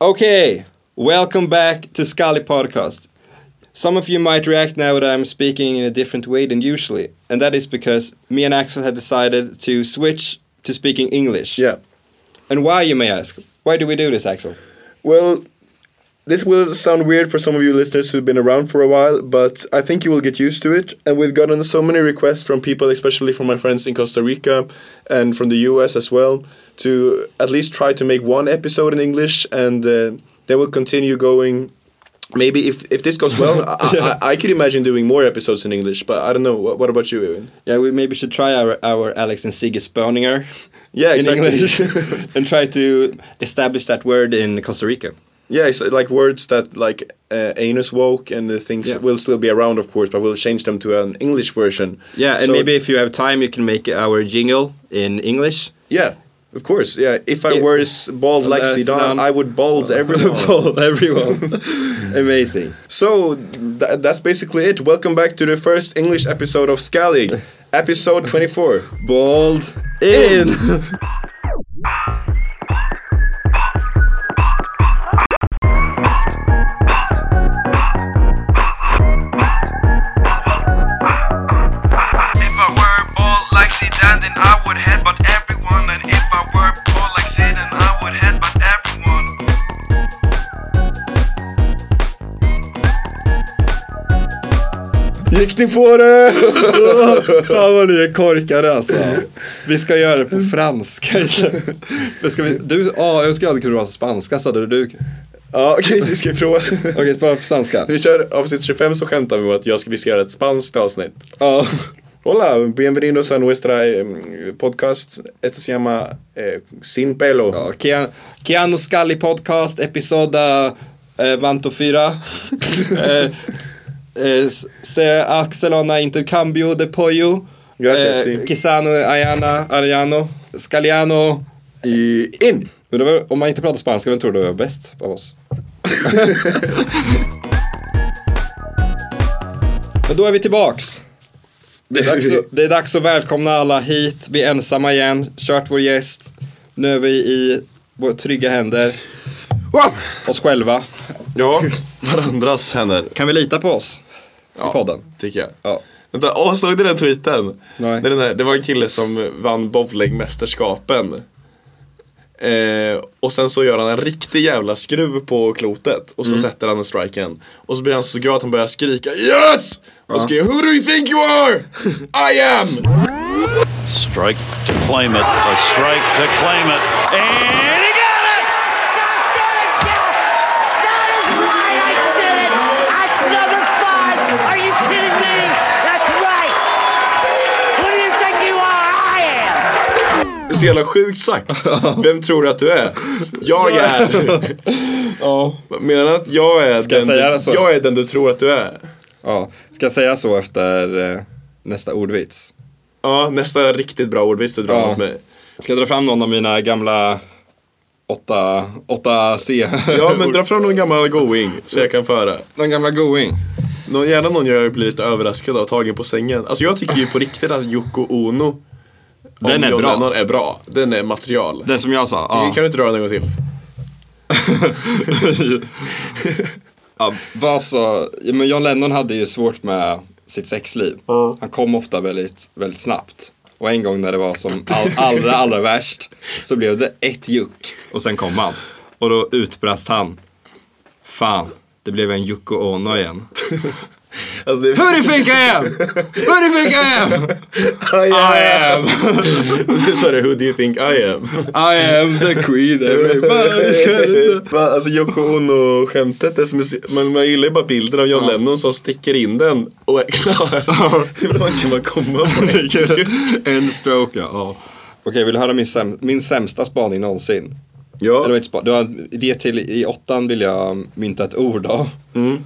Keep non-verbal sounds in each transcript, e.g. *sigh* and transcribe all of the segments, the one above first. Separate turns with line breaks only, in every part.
Okay, welcome back to Scully Podcast. Some of you might react now that I'm speaking in a different way than usually, and that is because me and Axel had decided to switch to speaking English.
Yeah.
And why, you may ask? Why do we do this, Axel?
Well, this will sound weird for some of you listeners who've been around for a while, but I think you will get used to it. And we've gotten so many requests from people, especially from my friends in Costa Rica and from the US as well, to at least try to make one episode in English, and uh, then we'll continue going. Maybe if, if this goes well, I, *laughs* I, I could imagine doing more episodes in English, but I don't know. What, what about you, Ewan?
Yeah, we maybe should try our, our Alex and Sigge *laughs* Spöninger
Yeah,
in
exactly. *laughs*
English *laughs* and try to establish that word in Costa Rica.
Yeah, it's uh, like words that like uh, anus woke and the things
Yeah.
will still be around, of course, but we'll change them to an English version.
Yeah, and
So-
maybe if you have time, you can make our jingle in *laughs* English.
yeah, of course, yeah. If I
Yeah.
were s- bald like
Uh,
Zidane,
no.
I would bald *laughs* everyone.
Poll everyone. *laughs* Amazing.
so th- that's basically it. Welcome back to the first English episode of
*laughs*
Scalig, episode twenty-four.
Bald *laughs* in.
If I were bald like Zidane, then I would headbutt everyone. And if I were bald like Zidane, I would headbutt everyone.
Gick ni på det?
*laughs* Fan vad ni är korkade alltså. Vi ska göra det på franska istället. Men Ska vi, du, ah, jag ska aldrig kunna prata spanska sa du. du.
ja, okej, vi Ah, ska prova. *laughs*
Okej, spara på spanska.
När vi kör avsnitt 25 så skämtar vi om att jag ska, vi ska göra ett spanskt avsnitt.
Ja.
Hola, bienvenidos a nuestra eh, podcast. Este se llama eh, Sin Pelo.
Ja, Kean- Keanu Scully podcast, episoda eh, Vanto *laughs* 4. eh, eh, se Axelona intercambio de pollo. Eh,
Gracias, sí.
Kisano Ayana Ariano. Scaliano.
I, in!
Men det var, om man inte pratar spanska, vem tror du är bäst av
*laughs*
oss? Men då är vi tillbaks. Det är, dags att, det är dags att välkomna alla hit. Vi är ensamma igen. Kört vår gäst. Nu är vi i våra trygga händer. Oss själva.
Ja, *laughs* varandras händer.
Kan vi lita på oss? I podden?
Tycker jag.
Ja.
Vänta, åh, såg du den tweeten?
Nej.
Det, är den här, det var en kille som vann bowlingmästerskapen. Eh, och sen så gör han en riktig jävla skruv på klotet och så
Mm.
sätter han en strike igen. Och så blir han så glad att han börjar skrika YES! Och skriker Who do you think you
*laughs*
are? I am!
Strike to claim it. A strike to claim it. And he got it!
That is why I did it at number five. Are you kidding me? That's right. Who do you think you are? I am.
Du är så jävla sjukt sagt. Vem tror du att du är? Jag är...
*laughs* Ja.
Menar han att jag är,
jag
den
säga det
du,
så?
jag är den du tror att du är?
ja. Ska jag säga så efter eh, nästa ordvits?
Ja, nästa riktigt bra ordvits du drar
Ja.
mot mig.
Ska jag dra fram någon av mina gamla 8, 8C? *laughs*
Ja, men dra fram någon gammal going så jag kan föra.
De gamla going.
Någon, gärna någon jag blir lite överraskad av, tagen på sängen. Alltså jag tycker ju på riktigt att Yoko Ono om
Den är
John
bra.
Lennon är bra. Den är material.
Den som jag sa?
Kan du inte dra den en gång till?
*laughs* ja vad så, ja, men John Lennon hade ju svårt med sitt sexliv. Han kom ofta väldigt, väldigt snabbt. Och en gång när det var som all, allra, allra värst så blev det ett juck och sen kom han. Och då utbrast han. Fan, det blev en Yoko Ono igen.
Alltså det
Hur i finka är jag? Hur i finka är jag?
I
I am,
*laughs* Sorry, who do you think I am?
I am the queen everybody's gonna...
Va, Alltså Yoko Ono-skämtet, är som är så- man, man gillar ju bara bilden av John Lennon som sticker in den och är klar. *laughs* Hur fan kan man komma på
*laughs*
det?
En stroke ja. ja. Okej, vill du höra min, säm- min sämsta spaning någonsin?
Ja.
Eller inte spa- det var det till i åttan vill jag mynta ett ord av.
Mm.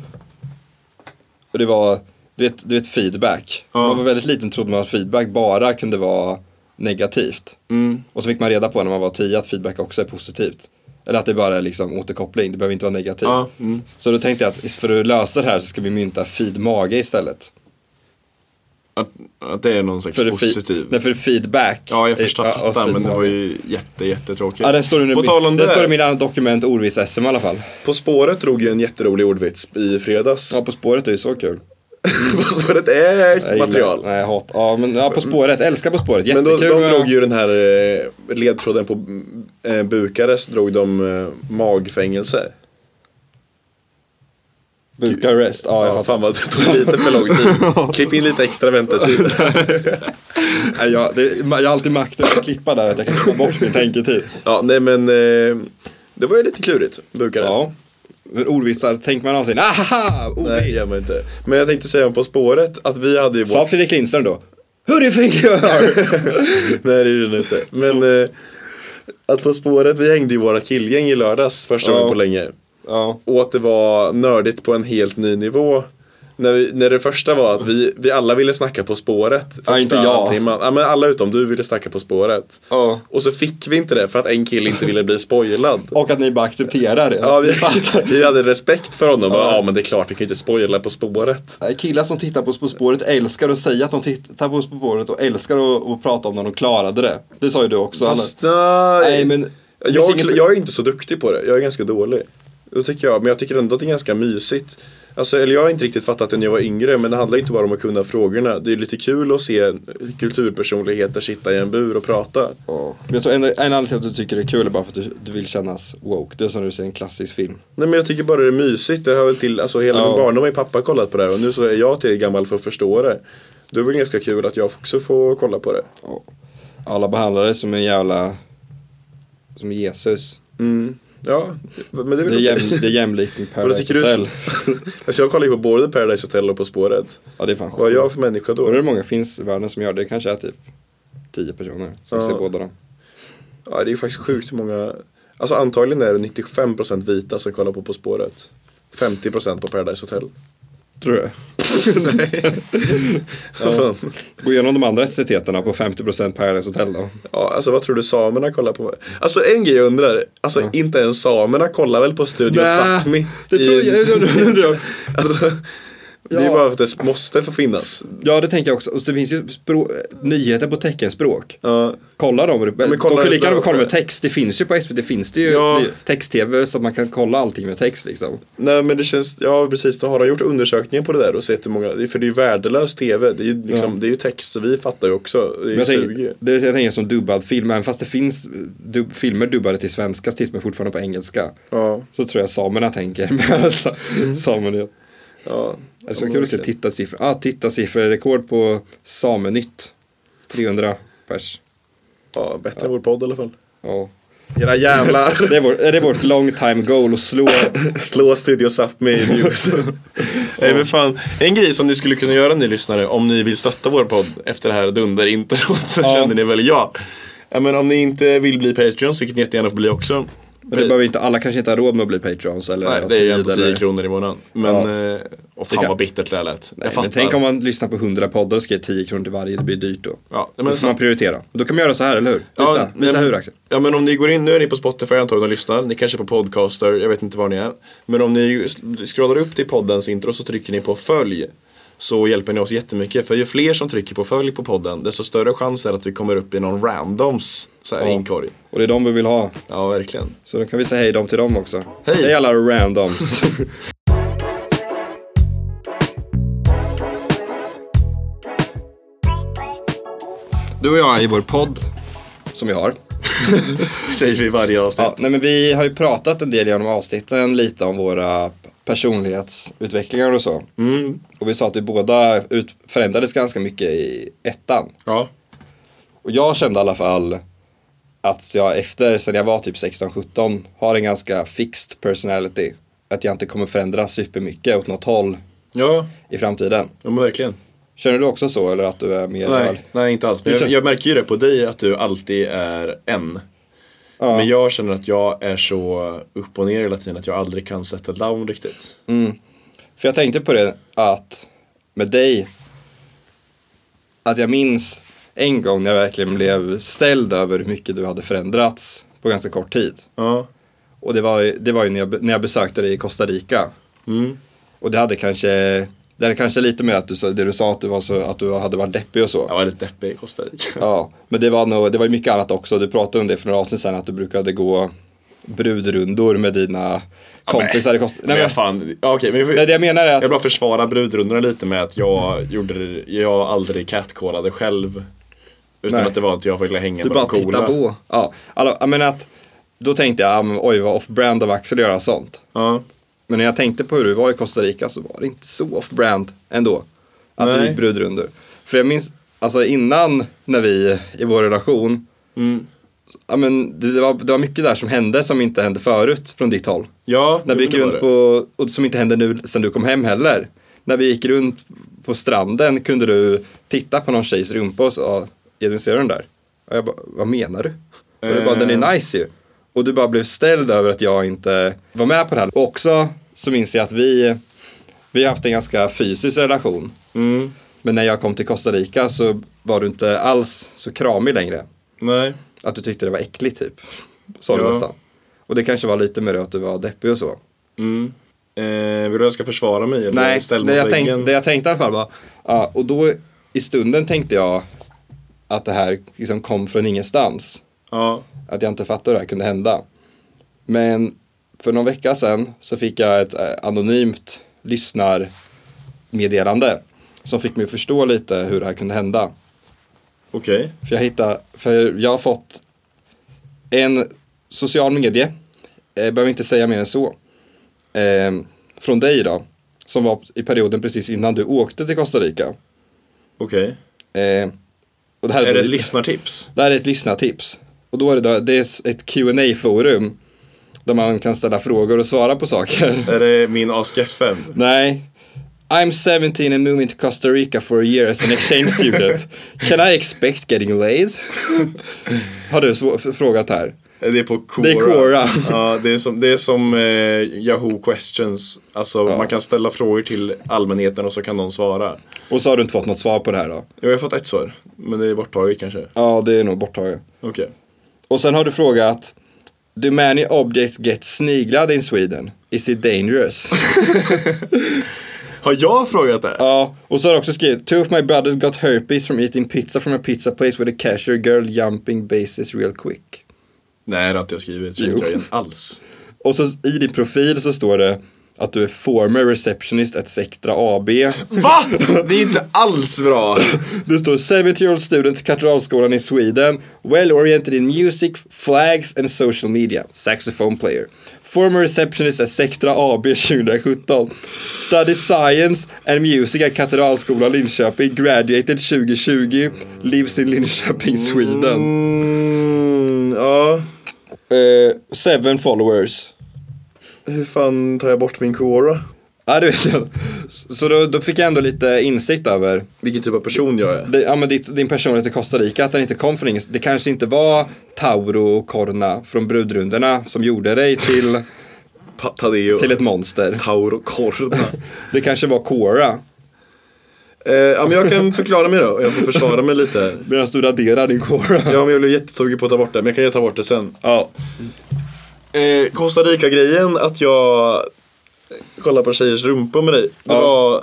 Och det var, du vet, du vet feedback. När man var väldigt liten trodde man att feedback bara kunde vara negativt.
Mm.
Och så fick man reda på när man var tio att feedback också är positivt. Eller att det bara är liksom återkoppling, det behöver inte vara negativt.
Ja, mm.
Så då tänkte jag att för att lösa det här så ska vi mynta feed mage istället.
att, att det är någon slags
För det
positiv.
fi- nej, för feedback.
Ja, jag förstår
Ja, och
alltså,
fattar, men det
feedback.
var ju jätte, jättetråkigt.
Ja, den står, nu,
På tal om
den
det.
står i mina dokument Orvis SM i alla fall.
På spåret drog ju en jätterolig ordvits i fredags.
Ja, På spåret är ju så kul.
*laughs* På spåret är
Jag
ett
gillar-
material.
Nej, jag hatar. Ja, men ja, På spåret. Älskar På spåret.
Men
Jättekul.
då, de
med-
drog ju den här eh, ledtråden på mm, eh, Bukarest, drog de eh, magfängelse.
Bukarest. Ja, jag
Ja,
hatar.
fan vad det tog lite för lång
*laughs*
tid. Klipp in lite extra väntetid.
Nej, jag, det, jag har alltid makten att klippa där, att jag kan klippa bort min tänketid.
Ja, nej men eh, det var ju lite klurigt,
*laughs*
Bukarest.
Ja. Men ordvitsar, tänker man någonsin ahaha,
Nej,
ordvits?
gör man inte. Men jag tänkte säga om På spåret att vi hade ju vår...
Sa Fredrik Lindström då? Who do you think you are?
*laughs* Nej, det gjorde den inte. Men eh, att På spåret, vi hängde ju våra killgäng i lördags första
Ja.
gången på länge.
*laughs* ja.
Och att det var nördigt på en helt ny nivå. När, vi, när det första var att vi, vi alla ville snacka På spåret. första
inte jag.
Timman. Ja, men alla utom du ville snacka På spåret.
Ja.
Och så fick vi inte det för att en kille inte ville
*laughs*
bli spoilad.
Och att ni bara accepterar det.
Ja, *laughs* vi,
fattar.
vi hade respekt för honom. Ja. ja, men det är klart, vi kan ju inte spoila På spåret.
Nej, Killar som tittar på På spåret älskar att säga att de tittar på På spåret och älskar att, att prata om när de klarade det. Det sa ju du också.
Fast, nej.
Nej, men det
jag,
finns inget-
jag är inte så duktig på det. Jag är ganska dålig. Då tycker jag, men jag tycker ändå att det är ganska mysigt. Alltså, eller jag har inte riktigt fattat det när jag var yngre, men det handlar inte bara om att kunna frågorna. Det är lite kul att se kulturpersonligheter sitta i en bur och prata.
Ja. Men jag tror en, en anledning till att du tycker det är kul är bara för att du, du vill kännas woke. Det är som när du ser en klassisk film.
Nej men jag tycker bara det är mysigt. Det hör väl till, alltså hela
Ja.
min barndom har ju pappa kollat på det här och nu så är jag till gammal för att förstå det. Då är det väl ganska kul att jag också får kolla på det.
Ja. Alla behandlar det som en jävla... Som Jesus.
Ja, men det är väl
Det är,
okej.
jäm, det är jämlikt med
Vadå,
Paradise
tycker du?
Hotel.
*laughs* Alltså jag kollar ju på både Paradise Hotel och På spåret.
Ja, det är fan sjukt.
Vad är jag för människa då?
Undrar hur många finns i världen som gör det? Det kanske är typ 10 personer som
Ja.
ser båda dem.
Ja, det är faktiskt sjukt hur många. Alltså antagligen är det 95% vita som kollar på På spåret. 50% på Paradise Hotel.
Tror du det?
Vad fan?
Gå igenom de andra etniciteterna på 50% Paradise Hotel då.
*laughs* Ja, alltså vad tror du samerna kollar på? Alltså en grej jag undrar. Alltså inte ens samerna kollar väl på Studio
Nä,
Sápmi?
det
i-
tror jag- det tror jag.
alltså, Det är
Ja.
bara för att det måste få finnas.
Ja, det tänker jag också. Och så finns ju språ- nyheter på teckenspråk.
Ja.
Kolla dem. Men
kolla
de kan
det
lika gärna
så-
kolla med text. Det finns ju på SVT, det finns det ju
Ja.
text-tv så att man kan kolla allting med text liksom.
Nej men det känns, ja precis, då har de gjort undersökningar på det där och sett hur många, för det är ju värdelös tv, det är ju, liksom, det är ju text så vi fattar ju också, det är
Men
ju
jag,
suger
tänker,
ju.
det, jag tänker som dubbad film, även fast det finns dub- filmer dubbade till svenska så tittar man fortfarande på engelska.
Ja. Mm.
Så tror jag samerna tänker. *laughs* med sa- samerna.
Ja.
Det är så kul att se tittarsiffror. Ja, ah, tittarsiffror. Rekord på Samenytt. 300 pers.
ja, bättre än vår podd i alla fall.
Ja.
Era *laughs* jävlar!
Det är, vår, är det vårt long time goal att slå?
Slå Studio Sápmi i
*laughs*
views. Nej men fan, en grej som ni skulle kunna göra ni lyssnare om ni vill stötta vår podd efter det här dunderintrot så
Ja.
känner ni väl ja. Ja men om ni inte vill bli Patreons, vilket ni jättegärna får bli också.
Men det behöver inte, alla kanske inte har råd med att bli Patreons eller
Nej,
ha
det är ju
tid
en på 10
eller-
kronor i månaden. Men,
Ja.
eh, och
Det
fan
kan-
vad bittert det här lät. Jag
Nej,
fattar.
men tänk om man lyssnar på 100 poddar och ska ge 10 kronor till varje, det blir dyrt då.
Ja, men
då får
så-
man prioritera. Då kan man göra så här, eller hur? Visa,
nej,
visa
men-
hur Axel.
Ja men om ni går in, nu är ni på Spotify antagligen och lyssnar, ni kanske är på podcaster, jag vet inte var ni är. Men om ni s- scrollar upp till poddens intro så trycker ni på följ. Så hjälper ni oss jättemycket, för ju fler som trycker på följ på podden, desto större chans är att vi kommer upp i någon randoms så här
Ja.
inkorg.
Och det är de vi vill ha.
Ja verkligen.
Så då kan vi säga hej dem till dem också.
Hej.
hej alla
*laughs*
randoms. du och jag i vår podd, som vi
*laughs*
har.
Säger vi i varje avsnitt.
Ja, nej men vi har ju pratat en del genom avsnitten lite om våra personlighetsutvecklingar och så. Och vi sa att vi båda ut- förändrades ganska mycket i ettan.
Ja.
Och jag kände i alla fall att jag efter, sen jag var typ 16-17, har en ganska fixed personality. Att jag inte kommer förändras supermycket åt något håll
Ja,
i framtiden.
ja men verkligen.
Känner du också så eller att du är mer...
Nej, nej inte alls. Men
Just
jag,
det.
jag märker ju det på dig att du alltid är en.
Ja.
Men jag känner att jag är så upp och ner hela tiden att jag aldrig kan sätta down riktigt.
För jag tänkte på det att med dig, att jag minns en gång när jag verkligen blev ställd över hur mycket du hade förändrats på ganska kort tid.
Ja. Mm.
Och det var, ju- det var ju när jag, be- när jag besökte dig i Costa Rica. Och det hade kanske Det är kanske lite mer att du, sa- det du sa att du, var så, att du hade varit deppig och så.
Jag var rätt deppig i Costa Rica.
Ja, men det var nog, det var ju mycket annat också. Du pratade om det för några avsnitt sedan att du brukade gå brudrundor med dina kompisar i Costa
*laughs* Nej
Nej,
men
men,
fan, ja, okej. men vi-
nej, det jag menar är
Jag
att,
bara försvara brudrundorna lite med att jag gjorde det- jag aldrig catcallade själv. Utan
Nej.
att det var att jag fick hänga
du
med
bara
de coola.
tittar på. Ja, alla, jag menar att, då tänkte jag, ja, men oj vad off-brand av Axel att göra sånt.
Ja.
Men när jag tänkte på hur du var i Costa Rica så var det inte så off-brand ändå. Att du
Nej.
gick brudrundor. För jag minns, alltså innan när vi, i vår relation,
Mm.
ja, men det, det, var, det var mycket där som hände som inte hände förut från ditt håll.
Ja,
När vi
men
gick
det var
runt
det.
på, och som inte hände nu sen du kom hem heller. När vi gick runt på stranden kunde du titta på någon tjejs rumpa och sa Edvin ser du den där? Och jag bara, vad menar du? Och du bara,
Eh.
den är nice ju. Och du bara blev ställd över att jag inte var med på det här. Och också så minns jag att vi, vi har haft en ganska fysisk relation.
Mm.
Men när jag kom till Costa Rica så var du inte alls så kramig längre.
Nej.
Att du tyckte det var äckligt typ. Sa du
Ja.
nästan. Och det kanske var lite mer att du var deppig och så.
Eh, vill du att jag ska försvara mig? Eller
Nej,
ställ
det
mot
jag,
väggen?
tänk, det jag tänkte i alla fall var, ja, och då i stunden tänkte jag att det här liksom kom från ingenstans.
Ja.
Att jag inte fattade hur det här kunde hända. Men för någon vecka sedan så fick jag ett eh, anonymt lyssnarmeddelande som fick mig att förstå lite hur det här kunde hända.
Okej.
För jag hittar, för jag har fått en social medie, jag behöver inte säga mer än så, eh, från dig då, som var i perioden precis innan du åkte till Costa Rica.
Okej.
Eh, och det här
Är det ett lyssnartips?
det här är ett lyssnartips. Och då är det, då, det är ett qa forum där man kan ställa frågor och svara på saker. *laughs*
Är det min Ask FM?
Nej. I'm 17 and moving to Costa Rica for a year as an exchange student. Can I expect getting laid? *laughs* Har du sv- f- frågat här.
Det är på Quora.
Det är Quora.
ja, det är som, det är som eh, Yahoo Questions. Alltså man kan ställa frågor till allmänheten och så kan någon svara.
Och så har du inte fått något svar på det här då?
Jag har fått ett svar, men det är borttaget kanske.
Ja, det är nog borttaget.
Okej.
Och sen har du frågat Do many objects get sniglad in Sweden? Is it dangerous? *laughs*
Har jag frågat det?
Ja, och så har du också skrivit Two of my brothers got herpes from eating pizza from a pizza place with a cashier girl jumping bases real quick.
Nej, det har inte jag skrivit.
Jo.
Känner inte jag igen alls.
Och så i din profil så står det att du är former receptionist at Sectra AB.
Va? *laughs* Det är inte alls bra.
Du står 70 year old student Katedralskolan i Sweden. Well oriented in music, flags and social media. Saxophone player. Former receptionist at Sectra AB 2017. Study science and music at Katedralskolan Linköping. Graduated 2020. Lives in Linköping, Sweden.
Mm, ja,
Eh, seven followers.
hur fan tar jag bort min Quora?
Ja, det vet jag. Så då, då fick jag ändå lite insikt över
Vilken typ av person jag är.
det, ja, men ditt, din personlighet i Costa Rica, att den inte kom från ingenstans. Det kanske inte var Tauro och Corna från brudrundorna som gjorde dig till,
Pa- Tadeo.
till ett monster.
Tauro Corda.
Det kanske var Cora.
eh, ja, men jag kan förklara mig då. Jag får försvara mig lite.
Medan du raderar din Cora.
Ja, men jag blev jättetokig på att ta bort det, men jag kan ju ta bort det sen.
Ja.
Eh, Costa Rica-grejen, att jag kollar på tjejers rumpor med dig. Det
Ja.
var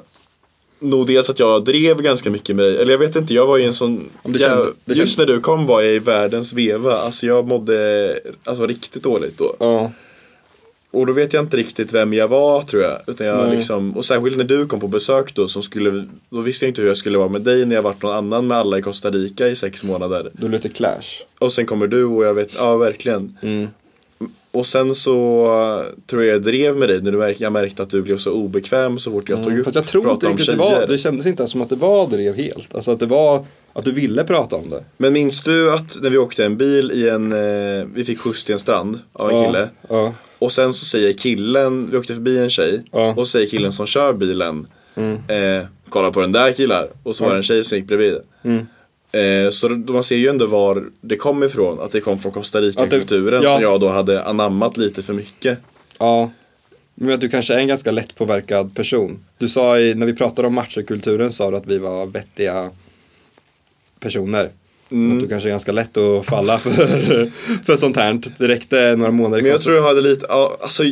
nog dels att jag drev ganska mycket med dig. Eller jag vet inte, jag var ju en sån...
det
jag,
kände- det
just
kände-
när du kom var jag i världens veva. Alltså jag mådde alltså, riktigt dåligt då.
ja.
Och då vet jag inte riktigt vem jag var tror jag. Utan jag liksom, och särskilt när du kom på besök då, som skulle, då visste jag inte hur jag skulle vara med dig när jag varit någon annan med alla i Costa Rica i sex månader.
Du är lite clash.
Och sen kommer du och jag vet, ja verkligen.
Mm.
Och sen så eh, tror jag jag drev med dig när du märk, jag märkte att du blev så obekväm så fort jag tog upp
För att Mm. jag tror inte
prata om
riktigt det var,
tjejer.
det kändes inte som att det var drev helt. Alltså att det var, att du ville prata om det.
Men minns du att när vi åkte en bil i en, eh, vi fick skjuts till en strand av en kille.
Ja.
Och sen så säger killen, vi åkte förbi en tjej.
Ja.
Och så säger killen som kör bilen, eh, kolla på den där killar. Och så var det en tjej som gick bredvid.
Mm.
Eh, så då- man ser ju ändå var det kom ifrån. Att det kom från Costa Rica-kulturen
ja.
som jag då hade anammat lite för mycket.
Ja. Men att du kanske är en ganska lättpåverkad person. Du sa i, när vi pratade om machokulturen sa du att vi var vettiga personer.
Mm.
Att du kanske är ganska lätt att falla *laughs* för, för sånt här. Det räckte några månader i
Men jag
Costa-
tror jag hade lite, ja, alltså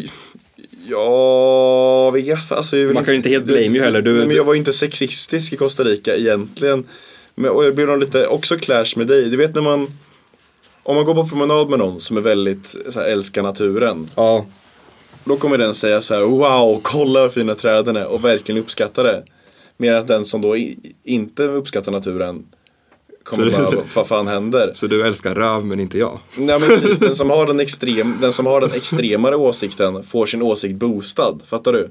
Ja, vet jag, alltså, jag vill
Man kan ju inte helt blame you heller. Du-
nej, men jag var ju inte sexistisk i Costa Rica egentligen. Men, och jag blev nog lite också clash med dig. Du vet när man, om man går på promenad med någon som är väldigt, så här, älskar naturen.
Ja.
Då kommer den säga så här: wow, kolla vad fina träden är och verkligen uppskatta det. Medan den som då i, inte
*laughs*
uppskattar naturen
Så
kommer
det-
bara, vad fan händer?
Så du älskar röv men inte jag?
Nej, men typ, den, som har den, extrem, den som har den extremare åsikten får sin åsikt boostad, fattar du?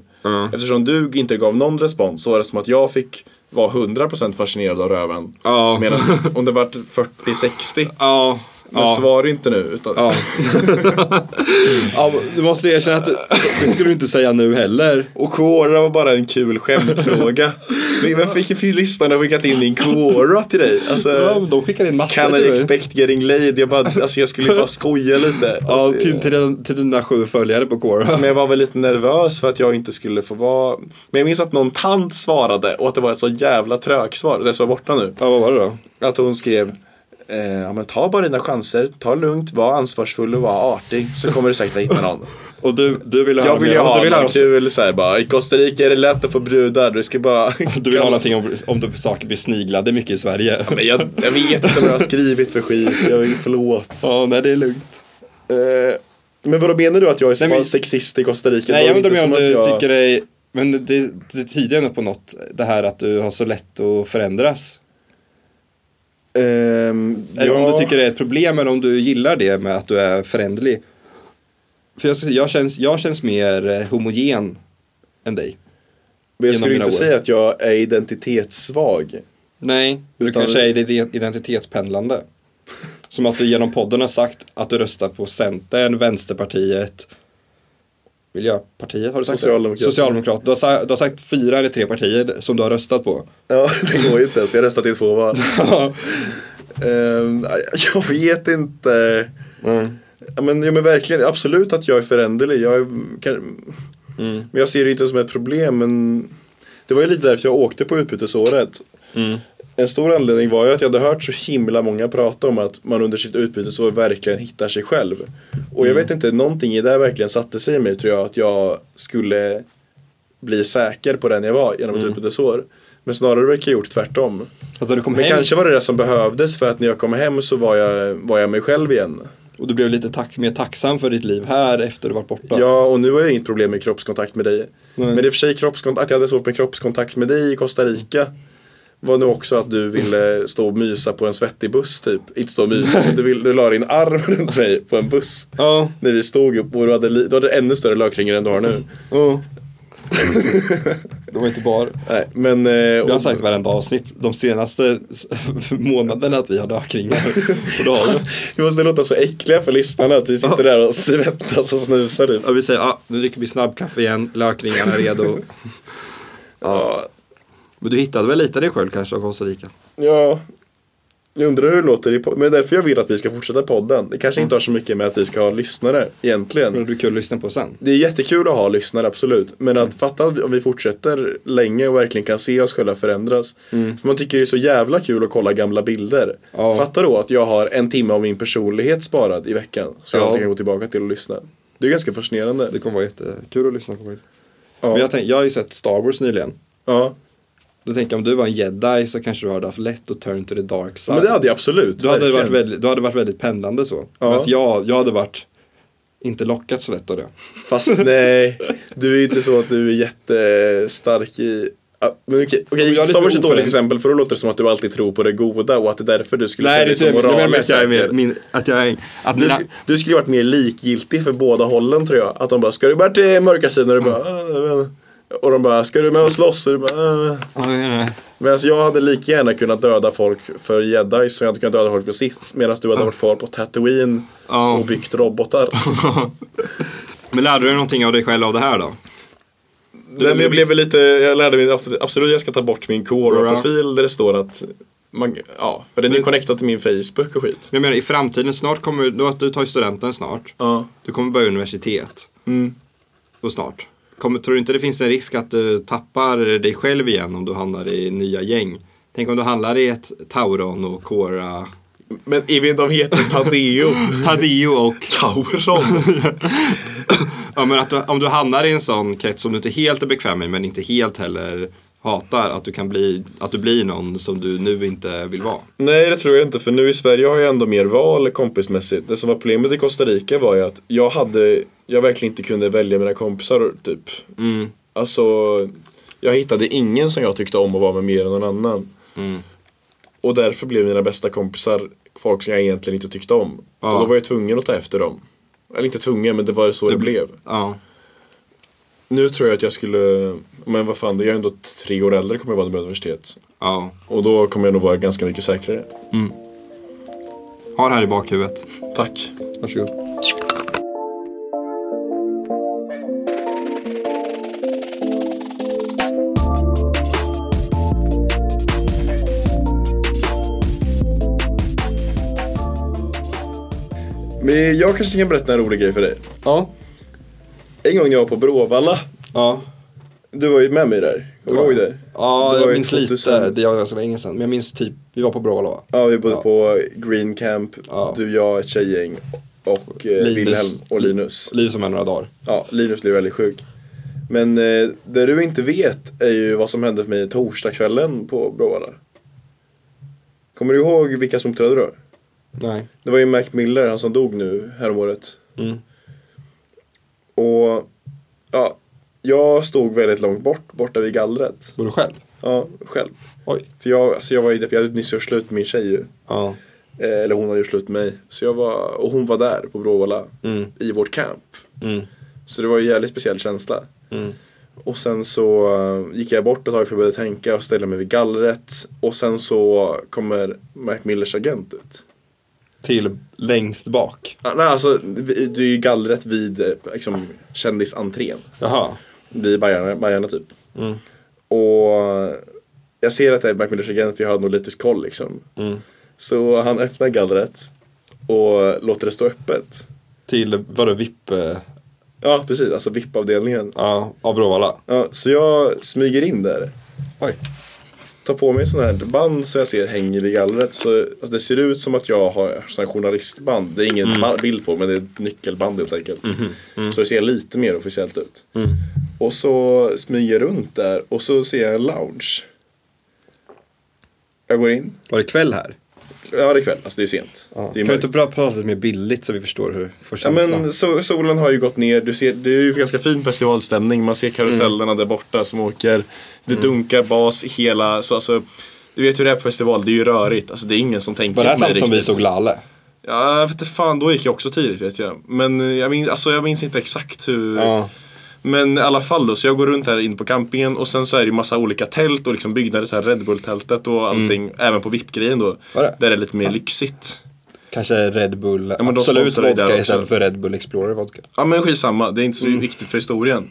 Eftersom du inte gav någon respons så var det som att jag fick vara 100% fascinerad av röven.
Ja.
Medan om det vart 40-60,
Ja.
men så var det inte nu. Utan,
Ja. ja men du måste erkänna att du, det skulle du inte säga nu heller.
Och Quora var bara en
*laughs*
kul skämtfråga. Men Vem fick fick listan och skickat in din Quora till dig?
Ja,
Alltså,
men de skickar in massor
can I
till dig.
expect getting laid? Jag, bara, alltså, jag skulle bara skoja lite.
Ja, typ.
Alltså,
till, till, din- till dina sju följare på Quora.
Men jag var väl lite nervös för att jag inte skulle få vara Men jag minns att någon tant svarade och att det var ett så jävla trögsvar, det är så borta nu
Ja, vad var det då?
Att hon skrev eh, ja, men ta bara dina chanser, ta det lugnt, var ansvarsfull och var artig så kommer du säkert att
*laughs*
hitta någon
Och du, du ville höra
Jag vill ju
mer.
ha
du vill höra,
något kul såhär bara, i Costa Rica är det lätt att få brudar, du ska bara
*laughs* *laughs* du vill ha någonting om, om du saker blir sniglade mycket i Sverige.
*laughs* Men jag, jag vet inte vad jag har skrivit för skit, jag, förlåt
Ja, nej det är lugnt.
eh, Men vad menar du att jag är
Nej, men-
sexist i Costa Rica?
Nej,
Det
jag
var
undrar om
inte
jag- om
som
du
att jag-
tycker dig... Men det, det tyder ändå på något, det här att du har så lätt att förändras.
Ehm,
Eller om
ja.
du tycker det är ett problem eller om du gillar det med att du är föränderlig. För jag, ska säga, jag, känns, jag känns mer eh, homogen än dig.
Men jag
genom
skulle
mina
inte
år.
säga att jag är identitetssvag.
Nej, du
Utan-
kanske är ident- identitetspendlande. Som att du genom podden har sagt att du röstar på Centern, Vänsterpartiet, Miljöpartiet, har du sagt det?
Socialdemokraterna.
Socialdemokraterna. Du, har sa- du har sagt fyra eller tre partier som du har röstat på.
Ja, *laughs* det går ju inte ens. Jag röstat i två val. Ehm, *laughs* jag vet inte. Ja, Men, ja, men verkligen, absolut att jag är föränderlig. Jag är, kan, Men jag ser det inte som ett problem. Men det var ju lite därför jag åkte på utbytesåret. En stor anledning var ju att jag hade hört så himla många prata om att man under sitt utbytesår verkligen hittar sig själv. Och jag vet inte, någonting i det här verkligen satte sig i mig tror jag. Att jag skulle bli säker på den jag var genom ett utbytesår. Men snarare verkar jag gjort tvärtom.
Alltså du kom
Men
hem
kanske var det det som behövdes för att när jag kom hem så var jag, var jag mig själv igen.
och du blev lite tack, mer tacksam för ditt liv här efter du varit borta.
Ja, och nu har jag inget problem med kroppskontakt med dig. Men det är för sig kroppskontakt, att jag hade svårt med kroppskontakt med dig i Costa Rica var nog också att du ville stå och mysa på en svettig buss typ. Inte stå och mysa, men du, vill, du la din arm *laughs* runt mig på en buss.
Ja,
När vi stod upp och du hade, li- du hade ännu större lökringar än du har
Mm.
nu.
ja. det var inte bara...
Nej, men... eh,
Vi har
och-
sagt i varenda avsnitt de senaste *laughs* s- månaderna att vi har dökringar. Och då har
*laughs*
vi.
Vi måste låta så äckliga för lyssnarna att vi sitter där och svettas och snusar typ.
Ja, vi säger, ah, nu dricker vi snabbkaffe igen, lökringarna är redo.
Ja,
Men du hittade väl lite dig själv kanske av Costa Rica?
Ja. Jag undrar hur det låter i podden. Men det är därför jag vill att vi ska fortsätta podden. Det kanske
Mm.
inte har så mycket med att vi ska ha lyssnare
Men
egentligen.
du är kul att lyssna på sen.
Det är jättekul att ha lyssnare, absolut. Men
Mm.
att fatta om vi fortsätter länge och verkligen kan se oss själva förändras. För man tycker det är så jävla kul att kolla gamla bilder.
Mm. Ja.
Fatta då att jag har en timme av min personlighet sparad i veckan. Så jag
Ja.
alltid kan gå tillbaka till och lyssna. Det är ganska fascinerande.
Det kommer vara jättekul att lyssna på.
Ja.
Men jag, tänk, jag har ju sett Star Wars nyligen.
ja.
Då tänker jag om du var en jedi så kanske du hade haft lätt att turn to the dark side.
Men det hade jag absolut.
Du hade,
verkligen.
varit väldigt, du hade varit väldigt pendlande så.
Ja.
Medan jag, jag hade varit inte lockat så lätt av det. *laughs*
Fast nej, du är inte så att du är jättestark i... Ja, Men okej, okej
jag är lite
Star Wars är ett dåligt
oförändrad.
exempel för då låter det som att du alltid tror på det goda och att det är därför du skulle känna dig
typ-
som moraliskt säker.
min, att jag är, att
Du, sk- du skulle varit mer likgiltig för båda hållen tror jag. Att de bara, ska du bara till mörka sidan? Och du bara, "Ah,
Mm.
jag vet inte." och de bara, ska du med och slåss? Och du bara, "Ah, jag vet inte." Medan jag hade lika gärna kunnat döda folk för jedi som jag hade kunnat döda folk för sith. Medan du
Ah.
hade varit kvar på Tatooine
Ja.
och byggt robotar.
*laughs* Men lärde du dig någonting av dig själv av det här då?
Nej, men jag blev väl lite, jag lärde mig att absolut jag ska ta bort min Quora-profil där det står att man, ja, för den är connectad till min Facebook och skit.
Men Jag menar i framtiden snart kommer du, att du tar ju studenten snart.
Ja.
Du kommer börja universitet. Och snart. Kommer, tror du inte det finns en risk att du tappar dig själv igen om du hamnar i nya gäng? Tänk om du handlar i ett Tauron och Cora, *laughs*
Men även de heter Tadeo.
Tadeo och
Tauron.
Ja, men att du, om du hamnar i en sån krets som du inte helt är bekväm med men inte helt heller hatar att du kan bli, att du blir någon som du nu inte vill vara.
Nej, det tror jag inte. För nu i Sverige har jag ändå mer val kompismässigt. Det som var problemet i Costa Rica var ju att jag hade, jag verkligen inte kunde välja mina kompisar typ.
Mm.
Alltså, jag hittade ingen som jag tyckte om att vara med mer än någon annan.
Mm.
Och därför blev mina bästa kompisar folk som jag egentligen inte tyckte om.
Ja.
Och då var jag tvungen att ta efter dem. Eller inte tvungen, men det var så det, blev.
Ja.
Nu tror jag att jag skulle, men vad fan, jag är ändå tre år äldre kommer jag vara när jag börjar universitet.
ja.
Och då kommer jag nog vara ganska mycket säkrare.
Ha det här i bakhuvudet.
Tack.
Varsågod.
Men jag kanske kan berätta en rolig grej för dig.
Ja.
En gång jag var på Bråvalla.
Ja.
Du var ju med mig där. Kommer du ihåg det?
Ja,
Det
jag
var ju
minns
2000.
lite. Det var så länge sedan. Men jag minns typ, vi var på Bråvalla va?
Ja, vi bodde på Green Camp.
Ja.
Du, jag, ett tjejgäng och eh,
Linus.
Wilhelm och Linus.
Liv som är några dagar.
Ja, Linus blev väldigt sjuk. Men eh, det du inte vet är ju vad som hände för mig torsdagskvällen på Bråvalla. Kommer du ihåg vilka som uppträdde då?
Nej.
Det var ju Mac Miller, han som dog nu häromåret.
Mm.
Och ja, jag stod väldigt långt bort, borta vid gallret.
Var du själv?
Ja, själv.
Oj.
För jag, alltså jag var ju depp- jag hade nyss gjort slut med min tjej ju.
Ja.
Eh, Eller hon hade gjort slut med mig. Så jag var, och hon var där på Bråvalla.
Mm.
I vårt camp.
Mm.
Så det var ju en jävligt speciell känsla.
Mm.
Och sen så eh, gick jag bort ett tag för jag började tänka och ställde mig vid gallret. Och sen så kommer Mac Millers agent ut.
Till längst bak.
Ah, nej alltså, vi- det är ju gallret vid eh, liksom, kändisentrén.
Jaha.
Vid Bajarna, Bajarna typ.
Mm.
Och eh, jag ser att det är Mac Millers agent för jag har nog lite koll liksom.
Mm.
Så han öppnar gallret och låter det stå öppet.
Till, vadå, VIP? eh,
Ja precis, alltså VIP-avdelningen.
Ja, av Bråvalla.
Ja, så jag smyger in där.
Oj.
Tar på mig sån här band som jag ser hänger i gallret. Så alltså, det ser ut som att jag har sån här journalistband. Det är ingen
Mm.
ba- bild på men det är ett nyckelband helt enkelt.
Mm-hmm.
Så det ser lite mer officiellt ut.
Mm.
Och så smyger jag runt där och så ser jag en lounge. Jag går in.
Var det kväll här?
Ja det är kväll, alltså det är sent.
Ja.
Det är
kan du
mörkt.
inte bra prata lite mer bildligt så vi förstår hur får
Ja,
känslan?
men so- solen har ju gått ner, du ser, det är ju ganska fin festivalstämning. Man ser karusellerna
Mm.
där borta som åker. Det dunkar bas i hela, så alltså. Du vet hur det är på festival, det är ju rörigt. Alltså det är ingen som tänker
var det här
på
samma som vi
riktigt.
såg Lalle?
Ja, jag vet inte fan, då gick jag också tidigt vet jag. Men eh, jag minns, alltså, jag minns inte exakt hur.
Ja.
Men i alla fall då, så jag går runt här inne på campingen och sen så är det ju massa olika tält och liksom byggnader, så här Red Bull-tältet och allting. Även på VIP-grejen då.
Mm. Var det?
Där det är lite mer lyxigt.
Kanske Red Bull
men de
Absolut
sponsrar ju där
Vodka
också.
istället för Red Bull Explorer Vodka.
Ja men skitsamma, det är inte så
Mm.
viktigt för historien.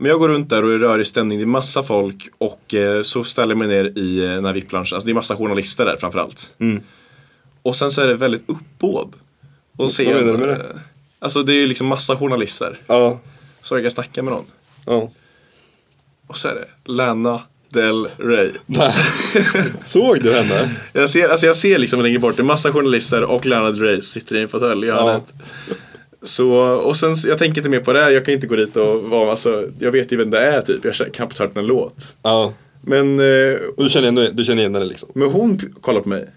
Men jag går runt där och det är rörig stämning, det är massa folk och eh, så ställer jag mig ner i eh, den här VIP-loungen. Alltså det är massa journalister där framförallt.
Mm.
Och sen så är det väldigt uppbåd. Och se
menar du med det?
Alltså det är liksom massa journalister.
Ja.
Så jag kan snacka med någon.
ja.
Och så är det Lana Del Rey.
*laughs* Såg du henne?
Jag ser, alltså jag ser liksom längre bort, det är massa journalister och Lana Del Rey sitter i en fåtölj i hörnet. Så, och sen, jag tänker inte mer på det, här. jag kan inte gå dit och vara, alltså, jag vet ju vem det är typ, jag kan knappt hört en låt.
Ja.
Men, eh,
Och du känner, ändå- du känner igen henne liksom?
men hon p- kollar på mig,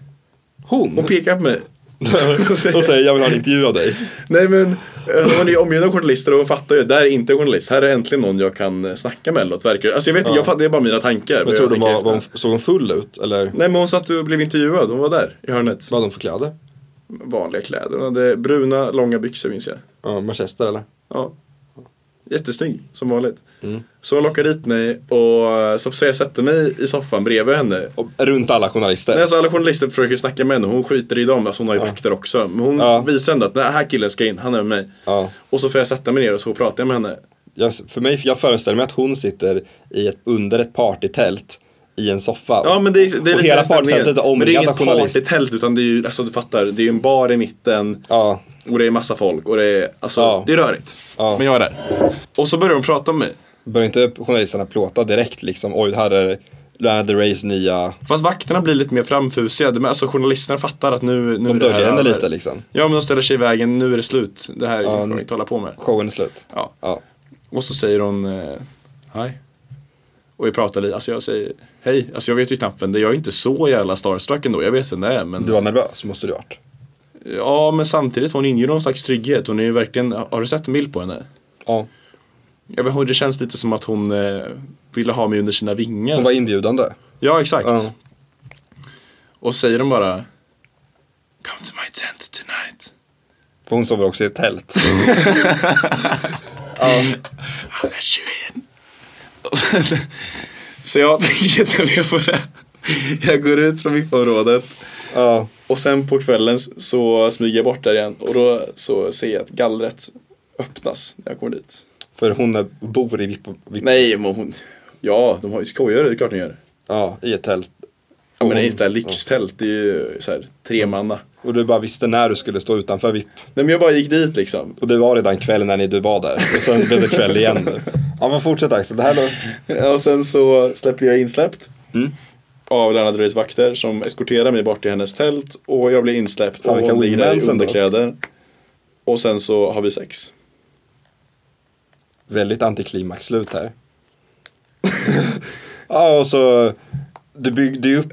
Hon?
hon pekar på mig.
*laughs* Och säger jag vill ha en intervju av dig.
Nej men, eh, hon är ju omgiven av journalister och hon fattar ju, det här är inte en journalist, här är äntligen någon jag kan eh, snacka med eller något, verkar det. Alltså jag vet inte, jag fattar, det är bara mina tankar.
Men
jag
tror du
tänker
var,
efter.
var hon, såg hon full ut eller vad
Nej men hon satt och blev intervjuad, hon var där i hörnet.
hade hon för kläder?
Vanliga kläder, hon hade bruna långa byxor minns jag.
Ja, Manchester eller?
Ja. Jättesnygg, som vanligt.
Mm.
Så hon lockar dit mig och eh, så får jag sätta mig i soffan bredvid henne.
Och, runt alla journalister?
Nej, alltså alla journalister försöker snacka med henne, hon skiter i dem, alltså hon har ju vakter också. Men hon
Ja.
visar ändå att den här killen ska in, han är med mig.
Ja.
Och så får jag sätta mig ner och så pratar jag med henne.
Jag, för mig, jag föreställer mig att hon sitter i ett, under ett partytält i en soffa.
Ja men det är, det är
och
lite
hela
den stämningen.
partytältet är
Men det är
omringat av
inget
journalister.
partytält utan det är ju, alltså du fattar, det är ju en bar i mitten.
Ja,
Och det är massa folk och det är, alltså,
Ja.
det är rörigt.
Ja.
Men jag är där. Och så börjar de prata med mig.
bör inte journalisterna plåta direkt liksom? Oj, här är Lana Del Reys nya,
Fast vakterna blir lite mer framfusiga. De- Alltså journalisterna fattar att
de
nu, nu är det här
döljer henne
över.
lite liksom.
Ja men de ställer sig i vägen, nu är det slut. Det här
Ja,
får
nu-
ni inte hålla på med.
Showen är slut.
Ja.
Ja.
Och så säger hon eh, hej. Och vi pratar lite, alltså jag säger hej. Alltså jag vet ju knappt vem det är. Jag är inte så jävla starstruck ändå. Jag vet vem det är men.
Du var nervös, måste du ha varit.
Ja men samtidigt, hon inger någon slags trygghet. Hon är ju verkligen, har du sett en bild på henne?
Ja.
Jag vet, det känns lite som att hon eh, ville ha mig under sina vingar.
Hon var inbjudande.
Ja, exakt.
Ja.
Och säger de bara Come to my tent tonight.
För hon sover också i ett
*laughs*
tält.
I'll let you in. Och sen- Så jag tänker inte mer på det. Jag går ut från VIP-området
ja.
och sen på kvällen så smyger jag bort där igen och då så ser jag att gallret öppnas när jag kommer dit.
För hon är, bor i VIP, VIP
Nej, men hon... Ja, de har ju skojare, det är klart de gör.
ja, i ett tält.
Ja, men det är inte ett lyxtält, det är ju så här tremanna.
Och du bara visste när du skulle stå utanför VIP.
Nej men jag bara gick dit liksom.
Och det var redan kväll när ni, du var där. Och sen blev det kväll igen. nu. Ja men fortsätt Axel, det här då.
Ja, Eh, och sen så släpper jag insläppt.
Mm.
Av Lennart Röjs vakter som eskorterar mig bort till hennes tält. Och jag blir insläppt
Fan,
och
vilka
hon ligger där i
wingmans ändå.
underkläder. Och sen så har vi sex.
Väldigt antiklimax slut här. *laughs* ja och så, du byggde ju upp.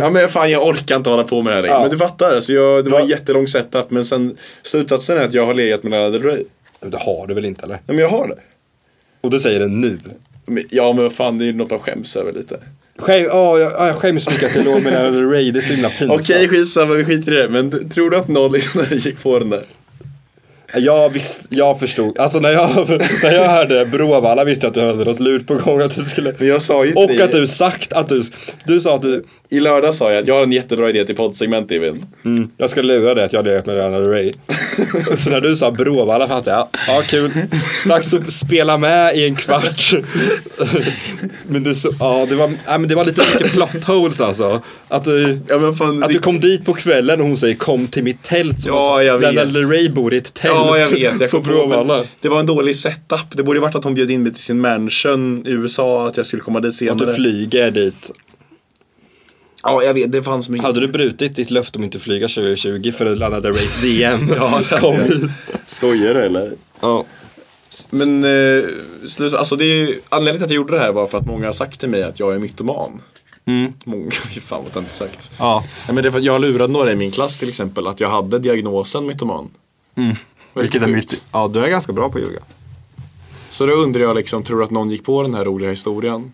Ja men fan jag orkar inte hålla på med det här längre.
Ja.
Men du fattar, alltså jag, det var en
Ja.
jättelång setup. Men sen slutsatsen är att jag har legat med Lennart Röj.
Men Det har du väl inte eller?
Ja men jag har det.
Och du säger det nu.
Men, ja men vad fan det är ju något de skäms över lite.
Skäm, oh, jag, ja, jag skäms så mycket att jag låg med Lana Del Rey, det är så himla pinsamt.
Okej skitsamma vi skiter i det. Men d- tror du att någon *laughs* liksom gick på den där?
Jag visst, jag förstod. Alltså när jag, när jag hörde Bråvalla visste jag att du hade något lurt på gång. Att du skulle...
Men jag sa ju till
Och
dig-
att du sagt att du... Du sa att du...
I lördag sa jag att jag har en jättebra idé till poddsegment Evin.
Mm. Jag ska lura dig att jag legat med Lana Del
*laughs*
Rey. Så när du sa Bråvalla fattade jag. Ja, kul. Dags att spela med i en
*laughs*
kvart. Men du så, ja, det var, ja, men det var lite mycket plot holes alltså. Att du...
Ja men fan.
Att
det-
du kom dit på kvällen och hon säger kom till mitt tält. Som
Ja,
att
jag vet.
Lana Del Rey bor i ett tält.
Ja, jag vet.
*laughs*
Jag
på
kom på,
Bråvalla.
men det var en dålig setup. Det borde ju varit att hon bjöd in mig till sin mansion i USA, att jag skulle komma dit senare.
Att du flyger dit
ja, jag vet. Det fanns mycket.
Hade du brutit ditt löfte om inte flyga 2020 för att Lana Del Reys DM
*laughs* Ja, det hade
kom
jag.
ut?
Skojar du eller?
Ja.
Men eh, slut, alltså det är, ju- anledningen till att jag gjorde det här var för att många har sagt till mig att jag är mytoman. Mm. Många, *laughs* fy fan vad inte sagt.
Ja.
Nej, men det är för att jag lurade några i min klass till exempel att jag hade diagnosen mytoman. Mm. Vilket är myt.
Ja, du är ganska bra på att ljuga.
Så då undrar jag liksom, tror du att någon gick på den här roliga historien?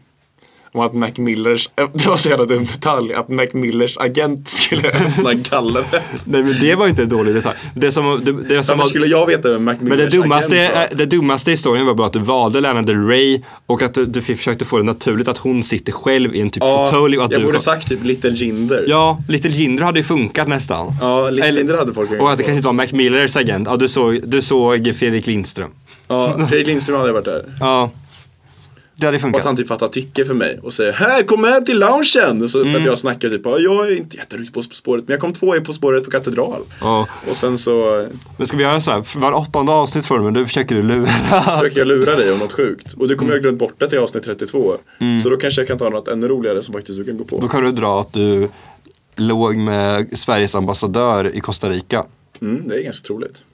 Om att Mac Millers, eh, *laughs* det var så jävla dum detalj, att Mac Millers agent *laughs* skulle öppna gallret.
Nej, men det var inte en dålig detalj. Det som, det, det som
Varför
var,
skulle jag veta vem Mac Millers
men det dummaste,
agent var?
eh, det dummaste i historien var bara att du valde Lana Del Rey och att du, du försökte få det naturligt att hon sitter själv i en typ fåtölj och
Ja,
att
jag
du
borde
kom.
sagt typ Little Jinder.
Ja, Little Jinder hade ju funkat nästan.
Ja, Little
Eller-
Jinder hade folk hängt
Och att det
på.
kanske inte var Mac Millers agent. Ja, du såg, du såg Fredrik Lindström.
ja Fredrik Lindström hade varit där.
Ja. Det hade
Och att
funkat.
han typ fattar tycke för mig och säger här kom med till loungen! Så
Mm.
För att jag snackar typ "Ja, jag är inte jätteduktig på På spåret men jag kom två i På spåret på katedral.
Ja.
Och sen så
Men ska vi göra så här, för var åttonde avsnitt får du, men du försöker du lura. *laughs*
försöker jag lura dig om något sjukt. Och du kommer jag ha glömt bort det till avsnitt 32. Så då kanske jag kan ta något ännu roligare som faktiskt du kan gå på.
Då kan du dra att du låg med Sveriges ambassadör i Costa Rica.
Mm, det är ganska troligt.